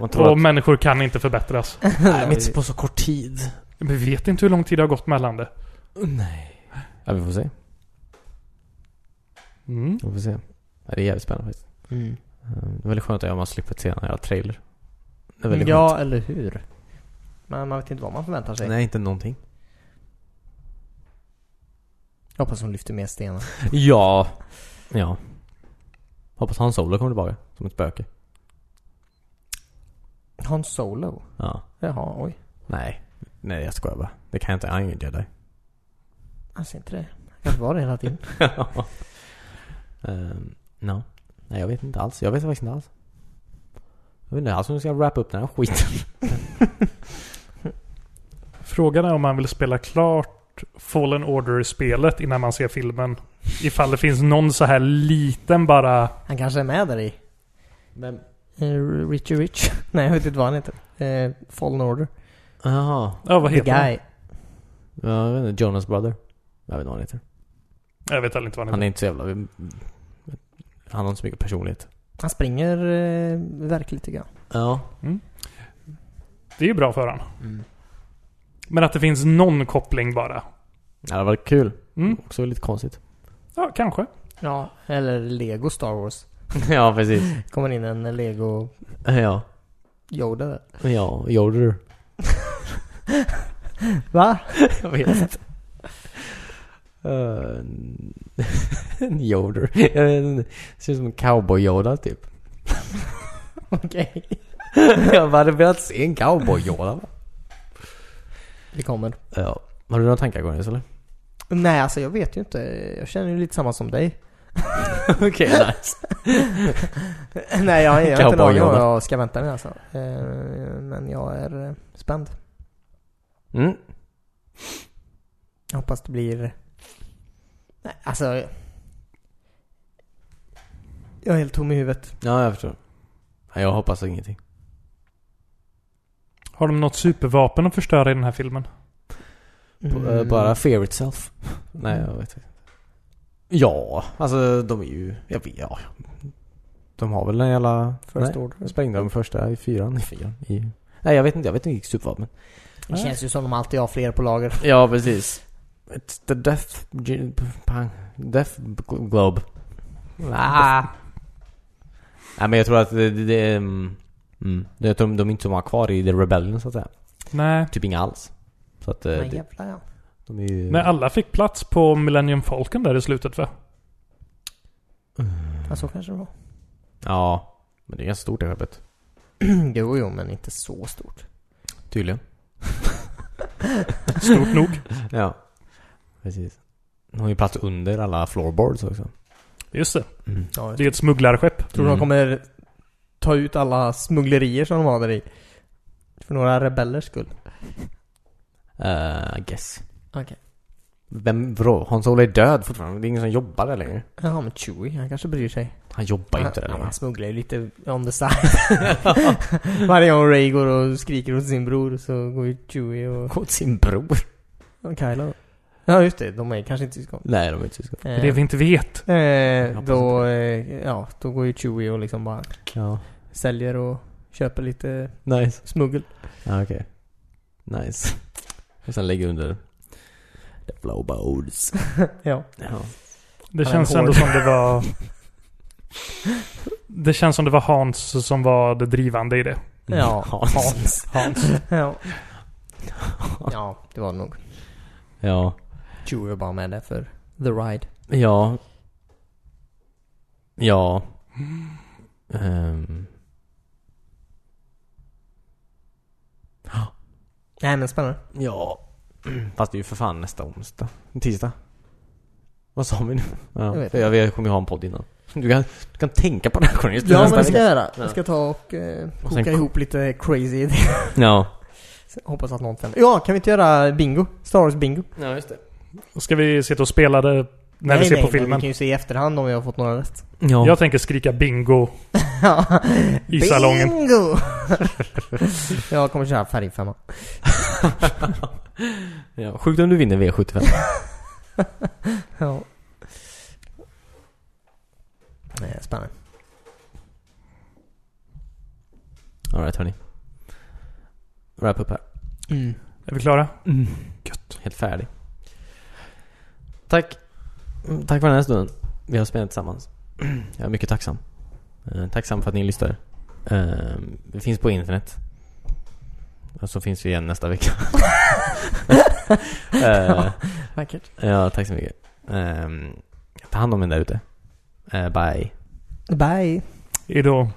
Speaker 3: man tror
Speaker 2: Och
Speaker 3: att...
Speaker 2: människor kan inte förbättras.
Speaker 3: Nej, men inte på så kort tid.
Speaker 2: Vi vet inte hur lång tid det har gått mellan det.
Speaker 3: Nej. Ja, vi får se.
Speaker 2: Mm.
Speaker 3: Vi får se. Ja, det är jävligt spännande faktiskt.
Speaker 1: Mm.
Speaker 3: Eh, Det är väldigt skönt att jag har slippt se den här trailer. Det är väldigt
Speaker 1: ja,
Speaker 3: skönt.
Speaker 1: eller hur? Men man vet inte vad man förväntar sig.
Speaker 3: Nej, inte någonting.
Speaker 1: Jag hoppas hon lyfter mer stenar.
Speaker 3: Ja. Ja. Hoppas han Solo kommer tillbaka som ett spöke.
Speaker 1: Han Solo?
Speaker 3: Ja.
Speaker 1: Jaha, oj.
Speaker 3: Nej. Nej, jag skojar bara. Det kan jag inte. Han är ingen jedi.
Speaker 1: Han ser inte det. Han kanske var det hela tiden.
Speaker 3: Ehm, no. Nej, jag vet inte alls. Jag vet faktiskt inte alls. Jag vet inte alls hur jag ska wrappa upp den här skiten.
Speaker 2: Frågan är om man vill spela klart Fallen Order-spelet innan man ser filmen. Ifall det finns någon så här liten bara...
Speaker 1: Han kanske är med där i
Speaker 3: Men...
Speaker 1: eh, Richie Rich. Nej, jag vet inte vad han heter. Eh, Fallen Order.
Speaker 3: Jaha.
Speaker 2: Ja, vad
Speaker 1: The
Speaker 2: heter han?
Speaker 1: Guy.
Speaker 3: Ja, jag vet inte. Jonas Brother. Jag vet inte vad han heter.
Speaker 2: Jag vet heller inte vad han
Speaker 3: Han
Speaker 2: heter.
Speaker 3: är inte så jävla... Han har inte så mycket personlighet.
Speaker 1: Han springer eh, verkligt tycker jag.
Speaker 3: Ja.
Speaker 2: Det är ju bra för han.
Speaker 3: Mm.
Speaker 2: Men att det finns någon koppling bara.
Speaker 3: Ja, det var kul.
Speaker 2: Mm.
Speaker 3: Också lite konstigt.
Speaker 2: Ja, kanske.
Speaker 1: Ja, eller Lego Star Wars.
Speaker 3: ja, precis.
Speaker 1: Kommer in en Lego
Speaker 3: Ja.
Speaker 1: Yoda där.
Speaker 3: Ja, Yoder.
Speaker 1: Va?
Speaker 3: Jag vet inte. Eh, En Yoder. Jag vet inte. Ser ut som en cowboy-Yoda typ.
Speaker 1: Okej.
Speaker 3: Jag hade velat se en cowboy-Yoda.
Speaker 1: Det kommer.
Speaker 3: Ja. Har du några tankar Gornis eller?
Speaker 1: Nej, alltså jag vet ju inte. Jag känner ju lite samma som dig.
Speaker 3: Okej, nice.
Speaker 1: Nej, jag har jag har inte en aning om
Speaker 3: Cowboy-Yoda.
Speaker 1: vad jag ska vänta mig alltså. Eh, men jag är eh, spänd.
Speaker 3: Mm.
Speaker 1: Jag hoppas det blir... Nej, alltså... Jag är helt tom i huvudet.
Speaker 3: Ja, jag förstår. Ja, Jag hoppas ingenting.
Speaker 2: Har de något supervapen att förstöra i den här filmen?
Speaker 3: B- eh,
Speaker 1: Mm.
Speaker 3: Bara fear itself. Nej, jag vet inte. Ja, alltså de är ju... Jag vet, ja. De har väl en jävla...
Speaker 1: First
Speaker 3: nej,
Speaker 1: Order.
Speaker 3: de sprängde de första i fyran. I fyran. I, nej, jag vet inte. Jag vet inte vilket supervapen.
Speaker 1: Det känns ju som de alltid har fler på lager.
Speaker 3: Ja, precis. It's the death... g- Pang. Death gl- globe. Ah. Nej, men jag tror att det... det, det mm, mm, jag tror de, de är inte så många kvar i The Rebellion, så att säga.
Speaker 2: Nej.
Speaker 3: Typ inga alls. Så att... eh,
Speaker 1: Men
Speaker 3: det,
Speaker 1: jävlar ja.
Speaker 3: de är ju...
Speaker 2: Nej, Eh. alla fick plats på Millennium Falcon där i slutet va?
Speaker 1: ja. Så kanske det var.
Speaker 3: Ja. Men det är ganska stort det skeppet.
Speaker 1: jo, jo, men inte så stort.
Speaker 3: Tydligen.
Speaker 2: Stort nog.
Speaker 3: Ja. Precis. De har ju plats under alla floorboards också.
Speaker 2: Just det.
Speaker 1: Ja,
Speaker 2: Det är ett smugglarskepp.
Speaker 1: Tror du
Speaker 3: Mm.
Speaker 1: de kommer ta ut alla smugglerier som de har där i? För några rebellers skull?
Speaker 3: Uh, I guess.
Speaker 1: Okej.
Speaker 3: Vem, vadå? Han Solo är död fortfarande. Det är ingen som jobbar där längre.
Speaker 1: Jaha, men Chewie, han kanske bryr sig.
Speaker 3: Han jobbar ju inte där
Speaker 1: han,
Speaker 3: längre.
Speaker 1: han smugglar ju lite on the side. Varje gång Ray går och skriker åt sin bror så går ju Chewie och,
Speaker 3: Åt sin bror.
Speaker 1: och Kylo. Ja, just det. De är kanske inte syskon.
Speaker 3: Nej, de är inte syskon.
Speaker 2: Det är det vi inte vet.
Speaker 1: Eh,
Speaker 3: hoppas
Speaker 1: då, eh, ja, då går ju Chewie och liksom bara
Speaker 3: Ja.
Speaker 1: säljer och köper lite
Speaker 3: Nice.
Speaker 1: smuggel.
Speaker 3: Ja, Ah, okej. Nice. Och sen lägger under the flowboards.
Speaker 1: Ja.
Speaker 3: Ja.
Speaker 2: Det
Speaker 1: Han är
Speaker 2: känns
Speaker 1: hård.
Speaker 2: ändå som det var... Det känns som det var Hans som var det drivande i det.
Speaker 1: Ja,
Speaker 3: Hans.
Speaker 1: Hans.
Speaker 2: Hans.
Speaker 1: ja. ja, det var det nog.
Speaker 3: Ja.
Speaker 1: Chewie var bara med där för the ride.
Speaker 3: Ja. Ja. Ehm.
Speaker 1: Nej men spännande.
Speaker 3: Ja. Fast det är ju för fan nästa onsdag. Tisdag. Vad sa vi nu? Ja, jag,
Speaker 1: vet
Speaker 3: vet. Jag, vet, kommer ju ha en podd innan. Du kan, du kan tänka på det här Cornelius.
Speaker 1: Ja men
Speaker 3: Nästa
Speaker 1: det ska
Speaker 3: vecka.
Speaker 1: jag göra.
Speaker 3: Ja.
Speaker 1: Jag ska ta och eh, koka
Speaker 3: sen-
Speaker 1: ihop lite crazy idéer.
Speaker 3: Ja.
Speaker 1: Hoppas att någon tänder. Ja, kan vi inte göra bingo? Star Wars bingo?
Speaker 3: Ja, just det.
Speaker 2: Ska vi sitta och spela det när vi
Speaker 1: nej,
Speaker 2: ser
Speaker 1: nej,
Speaker 2: på
Speaker 1: Men
Speaker 2: filmen?
Speaker 1: vi kan ju se i efterhand om vi har fått några rätt.
Speaker 3: Ja.
Speaker 2: Jag tänker skrika bingo
Speaker 1: Ja.
Speaker 2: i salongen.
Speaker 1: Bingo! jag kommer köra färgfemma.
Speaker 3: ja. Sjukt om du vinner V75.
Speaker 1: Ja. Eh, Spännande.
Speaker 3: Alright hörni. Wrap up här.
Speaker 1: Mm.
Speaker 2: Är vi klara?
Speaker 3: Helt färdig. Tack. Mm, Tack för den här stunden. Vi har spelat tillsammans. Jag är mycket tacksam. Eh, Tacksam för att ni lyssnar. Eh, Vi finns på internet. Och så finns vi igen nästa vecka. Eh,
Speaker 1: Vackert.
Speaker 3: ja, tack så mycket. Eh, Ta hand om er där ute. Eh, Bye.
Speaker 6: Bye.
Speaker 1: Hejdå.